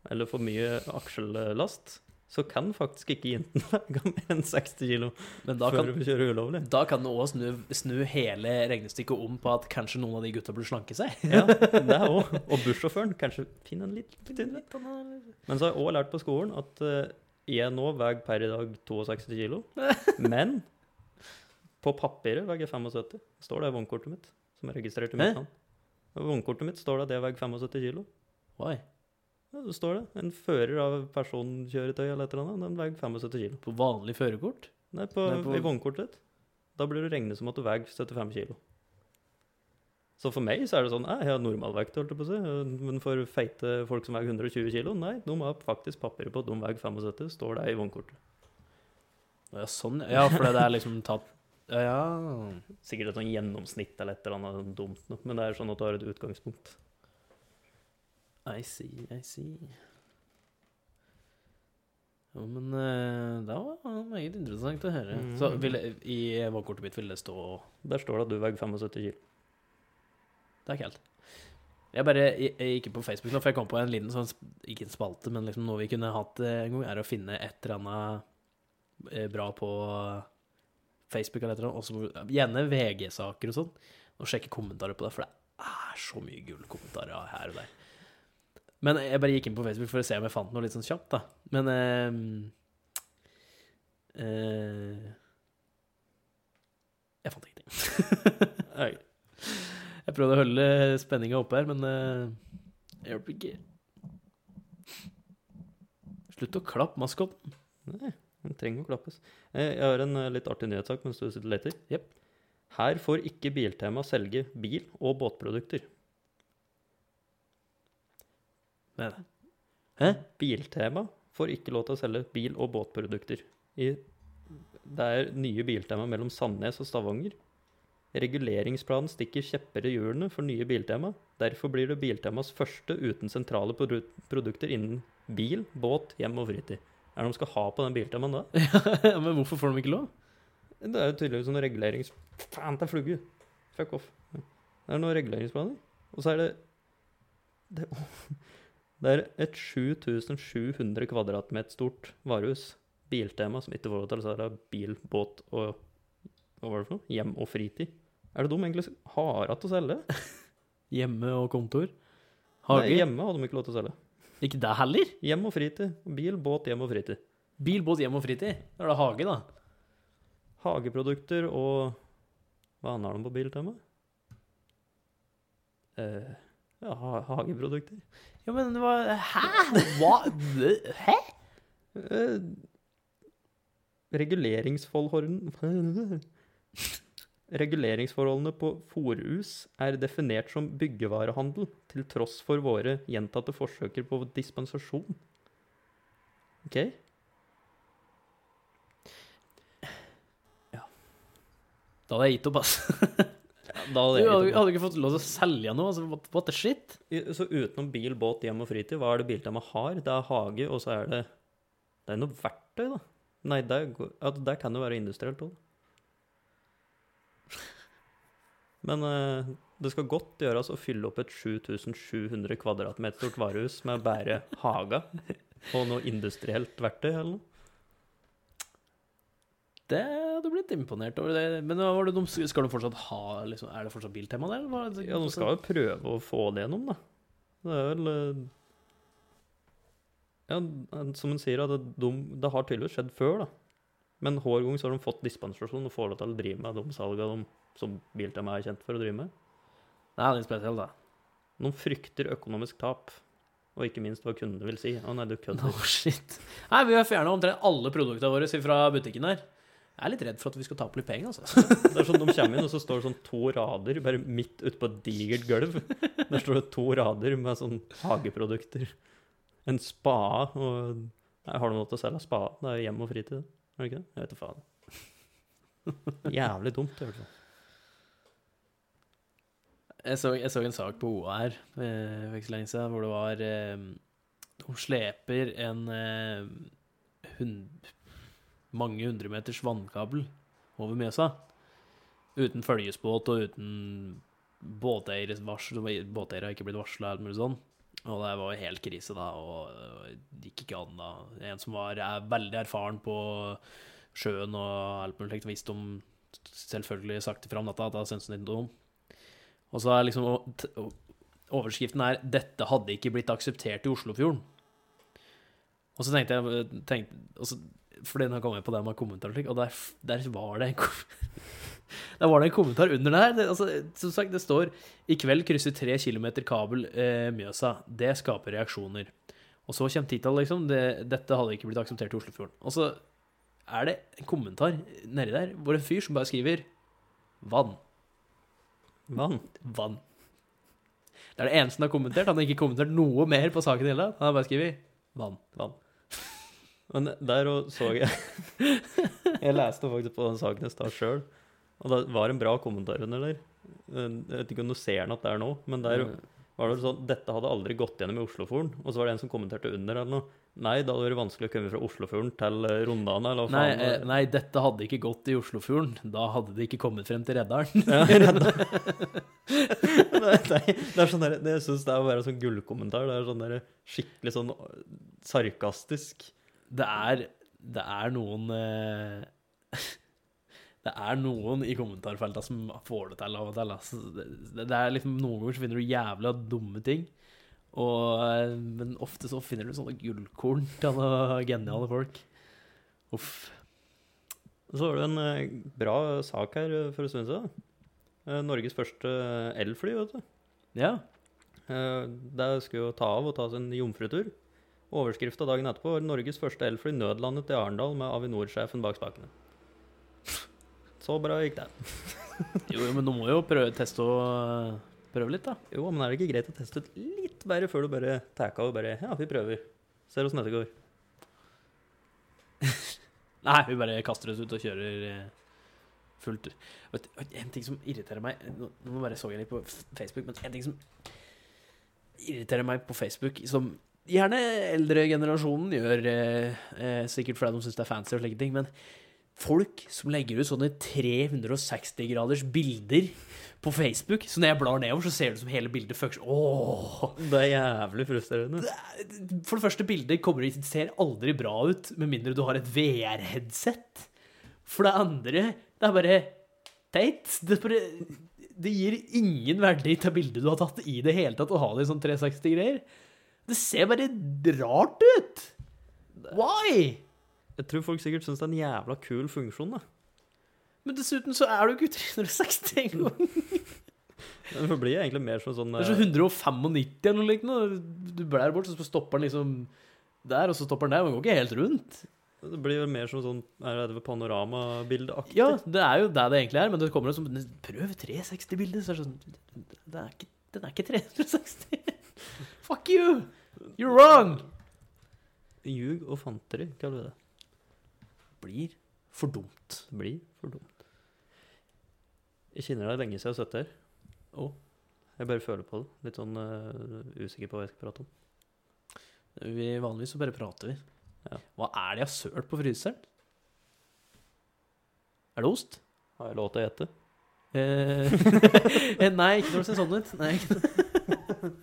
Speaker 1: eller for mye aksjellast, så kan faktisk ikke jentene [laughs] veie mer enn 60 kilo
Speaker 2: Men da
Speaker 1: før
Speaker 2: kan,
Speaker 1: vi kjører ulovlig.
Speaker 2: Da kan det òg snu, snu hele regnestykket om på at kanskje noen av de gutta burde slanke seg. [laughs]
Speaker 1: [laughs] Ja, det òg. Og bussjåføren. Kanskje finn en litt tynnere. Men så har jeg òg lært på skolen at eh, jeg nå veier per i dag 62 kilo. Men på papiret veier jeg 75. Står det i vognkortet mitt, som er registrert i
Speaker 2: Hæ?
Speaker 1: mitt navn. På vognkortet mitt står det at jeg veier 75 kilo.
Speaker 2: Oi,
Speaker 1: Ja, det står det. En fører av personkjøretøy eller et eller annet, den veier 75 kilo.
Speaker 2: på vanlig førerkort?
Speaker 1: Nei, på,
Speaker 2: Nei, på-
Speaker 1: i vognkortet ditt. Da blir du regnet som at du veier 75 kilo. Så for meg så er det sånn nei, jeg har normalvekt, holdt jeg på å si. Men for feite folk som veier 120 kilo, nei, de har faktisk papirer på at de veier 75, står det i vognkortet.
Speaker 2: Å Ja, sånn, ja. Ja, for det er liksom tatt Ja, ja.
Speaker 1: Sikkert et sånn gjennomsnitt eller et eller annet sånn dumt noe, men det er sånn at du har et utgangspunkt.
Speaker 2: I see, I see. Jo, men eh, det var meget interessant å høre.
Speaker 1: Mm.
Speaker 2: Så vil, det- i valgkortet mitt ville det stå
Speaker 1: Der står det at du veier 75 kilo.
Speaker 2: Det er ikke helt. Jeg bare jeg, jeg gikk inn på Facebook nå, for jeg kom på en liten sånn sp- Ikke en spalte, men liksom noe vi kunne hatt eh, en gang, er å finne et eller annet eh, bra på Facebook eller et eller annet. og så gjerne VG-saker og sånn. Og sjekke kommentarer på det, for det er så mye gullkommentarer her og der. Men jeg bare gikk inn på Facebook for å se om jeg fant noe litt sånn kjapt, da. Men eh, eh, Jeg fant ingenting. [laughs]
Speaker 1: Nei,
Speaker 2: Jeg prøvde å holde spenninga oppe her, men uh, jeg hjalp ikke. Slutt å klappe maskotten. [laughs]
Speaker 1: nei, den trenger å klappes. Eh, Jeg har en eh, litt artig nyhetssak mens du sitter og leter.
Speaker 2: Jep.
Speaker 1: Her får ikke Biltema selge bil- og båtprodukter.
Speaker 2: Nei, nei. Hæ?
Speaker 1: Biltema får ikke lov til å selge bil- og båtprodukter. I, det er nye Biltema mellom Sandnes og Stavanger. Reguleringsplanen stikker kjepper i hjulene for nye Biltema. Derfor blir det Biltemas første uten sentrale produ produkter innen bil, båt, hjem og fritid. Er det de skal ha på den Biltemaen da?
Speaker 2: Ja, men hvorfor får de ikke lov?
Speaker 1: Det er jo tydeligvis sånn regulerings... Faen, det er flugge! Fuck off. Det er noen reguleringsplaner. Og så er det Det, [laughs] det er et 7700 kvadratmeter stort varehus. Biltema som ikke får lov til å selge bil, båt og Hva var det for noe? Hjem og fritid. Er det de egentlig har igjen til å selge?
Speaker 2: Hjemme og kontor?
Speaker 1: Nei,
Speaker 2: Hage?
Speaker 1: hjemme hadde de ikke lov til å selge.
Speaker 2: ikke det heller?
Speaker 1: Hjem og fritid. Bil, båt, hjem og fritid.
Speaker 2: Bil, båt, hjem og fritid. Da er det hage, da.
Speaker 1: Hageprodukter og Hva annet har de på Biltema? Eh, ja, ha hageprodukter.
Speaker 2: Ja, men det var Hæ?! Hva? Hæ?
Speaker 1: Eh, reguleringsforholdene [laughs] Reguleringsforholdene på fòrhus er definert som byggevarehandel, til tross for våre gjentatte forsøker på dispensasjon. OK?
Speaker 2: Da hadde jeg gitt opp, ass. [laughs]
Speaker 1: Da
Speaker 2: Du
Speaker 1: hadde jeg
Speaker 2: hadde,
Speaker 1: gitt opp.
Speaker 2: hadde ikke fått lov til å selge noe. Altså, what, what the shit?
Speaker 1: I- Så utenom bil, båt, hjem og fritid, hva er det Biltema har? Det er hage, og så er det Det er noe verktøy, da. Nei, det, går- at det kan jo være industrielt òg. Men eh, det skal godt gjøres å fylle opp et 7700 kvadratmeter stort varehus med bare haga og noe industrielt verktøy eller noe.
Speaker 2: Det hadde blitt imponert over. det Men hva var det de, skal de fortsatt ha liksom, Er det fortsatt biltema der? eller hva er det-
Speaker 1: Ja, de skal jo prøve å få det gjennom, da. Det er vel eh, Ja, eh, som hun sier, at det, de, det har tydeligvis skjedd før, da. Men hver gang så har de fått dispensasjon og får lov til å drive med de salgene de som Biltema er kjent for å drive med.
Speaker 2: Nei, det er spesielt, da.
Speaker 1: De frykter økonomisk tap, og ikke minst hva kundene vil si. Å nei, du
Speaker 2: No,
Speaker 1: kødder.
Speaker 2: shit. Nei, vi har fjerna omtrent alle produktene våre fra butikken her. Jeg er litt redd for at vi skal tape litt penger, altså.
Speaker 1: Det er sånn de kommer inn, og så står det sånn to rader bare midt ute på et digert gulv. Der står det to rader med sånn hageprodukter. En spade og Nei, har du noe til å selge? Spade? Det er jo hjem og fritid, er det ikke det? Jeg vet da faen. Jævlig dumt, i hvert fall.
Speaker 2: Jeg så, jeg så en sak på OA her eh, for ikke så lenge siden, hvor det var eh, De sleper en eh, hund, mange hundremeters vannkabel over Mjøsa. Uten følgesbåt og uten båteieres varsel. Båteiere har ikke blitt varsla, eller noe sånt. sånn. Og det var jo helt krise, da, og det gikk ikke an, da. En som var er veldig erfaren på sjøen og alt mulig slikt, visste om selvfølgelig sakte fram natta at da syntes han ikke noe om. Og så er liksom og- t- og overskriften er 'Dette hadde ikke blitt akseptert i Oslofjorden'. Og så tenkte jeg eh, tenkte, og så, Fordi nå kom jeg på det med kommentarer, og slik, og der, der var det en kom- [laughs] Der var det en kommentar under det her. Det, altså, som sagt, det står 'I kveld krysser tre kilometer kabel eh, Mjøsa'. Det skaper reaksjoner. Og så kommer tittelen, liksom. Det, 'Dette hadde ikke blitt akseptert i Oslofjorden'. Og så er det en kommentar nedi der hvor en fyr som bare skriver 'vann'
Speaker 1: Vann.
Speaker 2: vann. Det er det eneste han har kommentert. Han har ikke kommentert noe mer på saken i hele tatt. Han har bare skrevet 'vann'.
Speaker 1: Men der og så jeg Jeg leste faktisk på den saken i stad sjøl, og det var en bra kommentar under der. Jeg vet ikke om du ser den at det er nå, men der var det vel sånn dette hadde aldri gått gjennom i Oslofjorden. Og så var det en som kommenterte under eller noe. Nei, det hadde vært vanskelig å komme fra Oslofjorden til eh, Rondane, eller hva
Speaker 2: Nei,
Speaker 1: faen.
Speaker 2: eh, nei, dette hadde ikke gått i Oslofjorden. Da hadde det ikke kommet frem til
Speaker 1: [laughs]
Speaker 2: Reddaren.
Speaker 1: Ja, redda. [laughs] Nei, det er sånn der, det, jeg syns det er bare en sånn gullkommentar. Det er sånn der, skikkelig sånn sarkastisk.
Speaker 2: [laughs] Det er, det er noen eh, [laughs] Det er noen i kommentarfelta som får det til av og til. altså. Det, det er liksom, noen ganger så finner du jævla dumme ting. Og, eh, men ofte så finner du sånne gullkorn til noen geniale folk. Uff.
Speaker 1: Så var det en eh, bra sak her eh, for en stund siden. Eh, Norges første eh, elfly, vet du.
Speaker 2: Ja.
Speaker 1: Eh, Det skulle jo ta av og ta sin jomfrutur. Overskrifta dagen etterpå var 'Norges første elfly nødlandet i Arendal med Avinor-sjefen bak spakene'. Så bra gikk det.
Speaker 2: Jo, jo, men du må jo prøve, teste og prøve litt, da.
Speaker 1: Jo, men er det ikke greit å teste ut litt bedre før du bare tar av og bare 'Ja, vi prøver'. Ser åssen dette går.
Speaker 2: Nei, vi bare kaster oss ut og kjører eh, fullt. Vet, du, en ting som irriterer meg Nå nå bare så jeg litt på F- Facebook, men en ting som irriterer meg på Facebook, som gjerne eldre generasjonen gjør, eh, eh, sikkert fordi de syns det er fancy og slike ting, men folk som legger ut sånne 360-graders bilder på Facebook, så når jeg blar nedover, så ser det ut som hele bildet fucks Åh!
Speaker 1: Det er jævlig frustrerende.
Speaker 2: For det første, bildet kommer, ser aldri bra ut, med mindre du har et VR-headset. For det andre, det er bare teit. Det, er bare, det gir ingen verdi til bildet du har tatt i det hele tatt, å ha det i sånn 360-greier. Det ser bare rart ut! Why?
Speaker 1: Jeg tror folk sikkert syns det er en jævla kul funksjon. da.
Speaker 2: Men dessuten så er du ikke 360 engang.
Speaker 1: Men Det blir egentlig mer som sånn
Speaker 2: Det er så 195 eller noe lignende. Du blær bort, så stopper den liksom der, og så stopper den der. Man går ikke helt rundt.
Speaker 1: eh, Det blir jo mer som sånn Er det panoramabildeaktig?
Speaker 2: Ja, det er jo det det egentlig er, men det kommer jo som Prøv 360-bildet, så er det sånn det er ikke, Den er ikke 360. [laughs] Fuck you! You're wrong!
Speaker 1: Ljug og fanteri, kaller vi det.
Speaker 2: Blir for dumt.
Speaker 1: Det blir for dumt. Jeg kjenner deg lenge siden jeg har sittet her.
Speaker 2: Å.
Speaker 1: Jeg bare føler på det. Litt sånn eh, usikker på hva jeg skal prate om.
Speaker 2: Vi Vanligvis så bare prater vi.
Speaker 1: Ja.
Speaker 2: Hva er det jeg har sølt på fryseren? Er det [laughs] ost?
Speaker 1: Har jeg lov til å gjette?
Speaker 2: Eh,
Speaker 1: Eh, [laughs]
Speaker 2: nei, ikke når det ser sånn ut. Nei, ikke.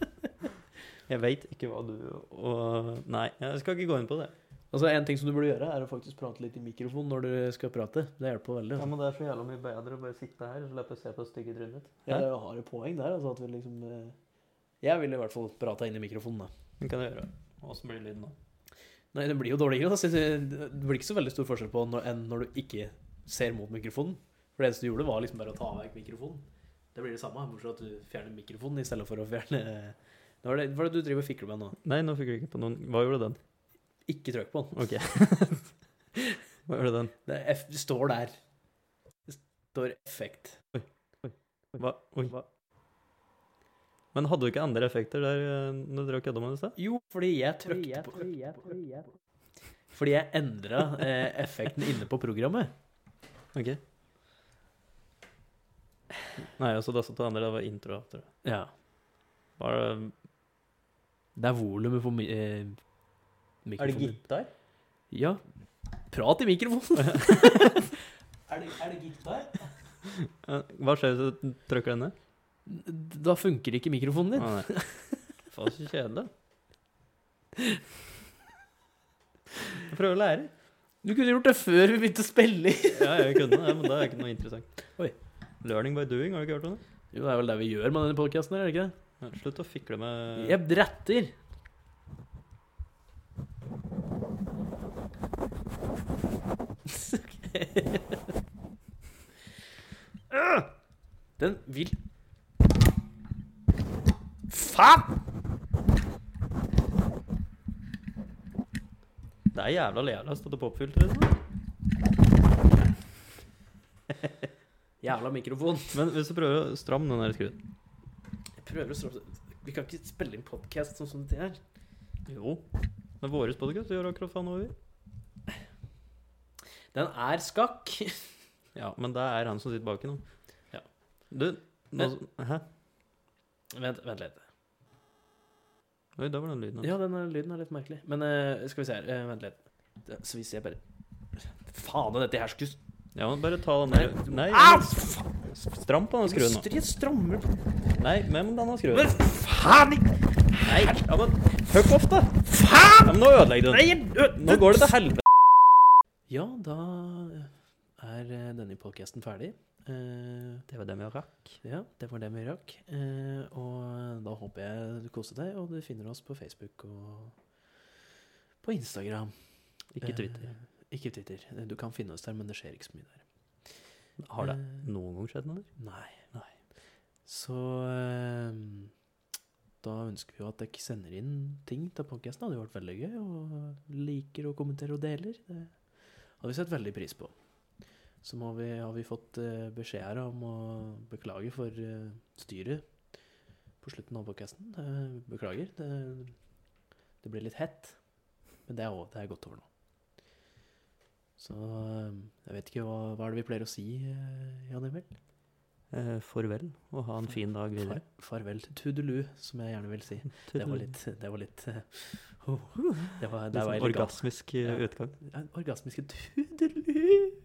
Speaker 1: Jeg veit ikke hva du og Nei, jeg skal ikke gå inn på det.
Speaker 2: Altså, En ting som du burde gjøre, er å faktisk prate litt i mikrofonen når du skal prate. Det hjelper veldig. altså.
Speaker 1: men Det er så jævla mye bedre å bare sitte her og slippe å se på stygge trynet ditt.
Speaker 2: Ja, jeg har et poeng der. altså at vi liksom... eh, Jeg ville i hvert fall prata inn i mikrofonen. da.
Speaker 1: Det kan jeg gjøre. Åssen blir lyden nå?
Speaker 2: Nei, Det blir jo dårligere. da. så jeg- Det blir ikke så veldig stor forskjell på når, enn når du ikke ser mot mikrofonen. For Det eneste du gjorde, var liksom bare å ta vekk mikrofonen. Det blir det samme, bortsett fra at du fjerner mikrofonen i stedet for å fjerne [laughs] Hva er det, hva er det du driver og fikler med nå?
Speaker 1: Nei, nå fikk jeg ikke på noen Hva gjorde den?
Speaker 2: Ikke trykk på den.
Speaker 1: OK. [laughs] Hva gjorde den?
Speaker 2: Det er F, det står der. Det står effekt.
Speaker 1: Hva Oi. Men hadde du ikke andre effekter der eh, når dere kødda med det i sted?
Speaker 2: Jo, fordi jeg trykte på Fordi jeg endra eh, effekten inne på programmet.
Speaker 1: OK. Nei, altså, det satt det andre. Det var intro. Tror jeg.
Speaker 2: Ja.
Speaker 1: Bare,
Speaker 2: Det er volumet på mi eh, mikrofonen.
Speaker 1: gitar?
Speaker 2: Ja. Prat i mikrofonen! [laughs] er, det, er det gitar?
Speaker 1: eh, Hva skjer hvis du trykker den ned?
Speaker 2: Da funker ikke mikrofonen din.
Speaker 1: Å, nei. [laughs] Faen, så kjedelig. Jeg prøver å lære.
Speaker 2: Du kunne gjort det før vi begynte å spille i.
Speaker 1: Ja, jeg kunne det, men det er ikke noe interessant.
Speaker 2: Oi.
Speaker 1: Learning by doing, har du ikke hørt om det?
Speaker 2: Jo, det er vel det vi gjør med denne podkasten, er det ikke det?
Speaker 1: Ja, Slutt å fikle med
Speaker 2: Jeg retter. Øh! [laughs] Den vil Faen!
Speaker 1: Det er liksom. jævla lealast at det popfilteret
Speaker 2: Jævla mikrofon.
Speaker 1: Men hvis du prøver å stramme den der skruen
Speaker 2: Jeg prøver å stramme Vi kan ikke spille inn podkast sånn som det er.
Speaker 1: Jo. Med våre podcast, du gjør akkurat faen hva vi vil.
Speaker 2: Den er skakk. [laughs]
Speaker 1: Ja, men det er han som sitter baki nå.
Speaker 2: Ja.
Speaker 1: Du, nå Hæ?
Speaker 2: Vent, vent litt.
Speaker 1: Oi, der var den lyden.
Speaker 2: Ja, den er- lyden er litt merkelig. Men eh, skal vi se her. eh, vent litt. Det- Så hvis jeg bare Faen, dette her skulle
Speaker 1: Ja, men bare ta den der Nei,
Speaker 2: Au!
Speaker 1: stram på den skruen nå.
Speaker 2: Industri strammer på
Speaker 1: Nei, men denne skruen.
Speaker 2: Men faen i
Speaker 1: Nei, ja, men Fuck off, da! Faen! Ja, men nå ødelegger du den.
Speaker 2: Nei, ø-
Speaker 1: Nå går det til helvete.
Speaker 2: Ja, da er eh, denne podcasten ferdig. Eh,
Speaker 1: Det var det vi rakk.
Speaker 2: ja, det var det vi rakk. Eh, og da håper jeg du koser deg, og du finner oss på Facebook og på Instagram.
Speaker 1: Ikke Twitter.
Speaker 2: Eh, ikke Twitter. Eh, Du kan finne oss der, men det skjer ikke så mye der.
Speaker 1: Har det
Speaker 2: Eh,
Speaker 1: noen gang skjedd noe der?
Speaker 2: Nei. nei. Så eh, da ønsker vi jo at dere sender inn ting til podkasten. Det hadde jo vært veldig gøy. Og liker og kommenterer og deler. Det hadde vi sett veldig pris på. Så må vi, har vi fått eh, beskjed her om å beklage for eh, styret på slutten av podkasten. Beklager. Det, det blir litt hett. Men det er, også, det er gått over nå. Så eh, jeg vet ikke hva, hva er det vi pleier å si, eh, Jan Emil?
Speaker 1: Eh, farvel, og ha en fin dag videre.
Speaker 2: Far, farvel til tudelu, som jeg gjerne vil si. Det var
Speaker 1: [laughs]
Speaker 2: litt Det var litt eh, [laughs] ho, ho. Det var, det
Speaker 1: Litt
Speaker 2: var
Speaker 1: sånn
Speaker 2: elegant.
Speaker 1: orgasmisk eh,
Speaker 2: Ja.
Speaker 1: utgang.
Speaker 2: Den Orgasmiske tudelu.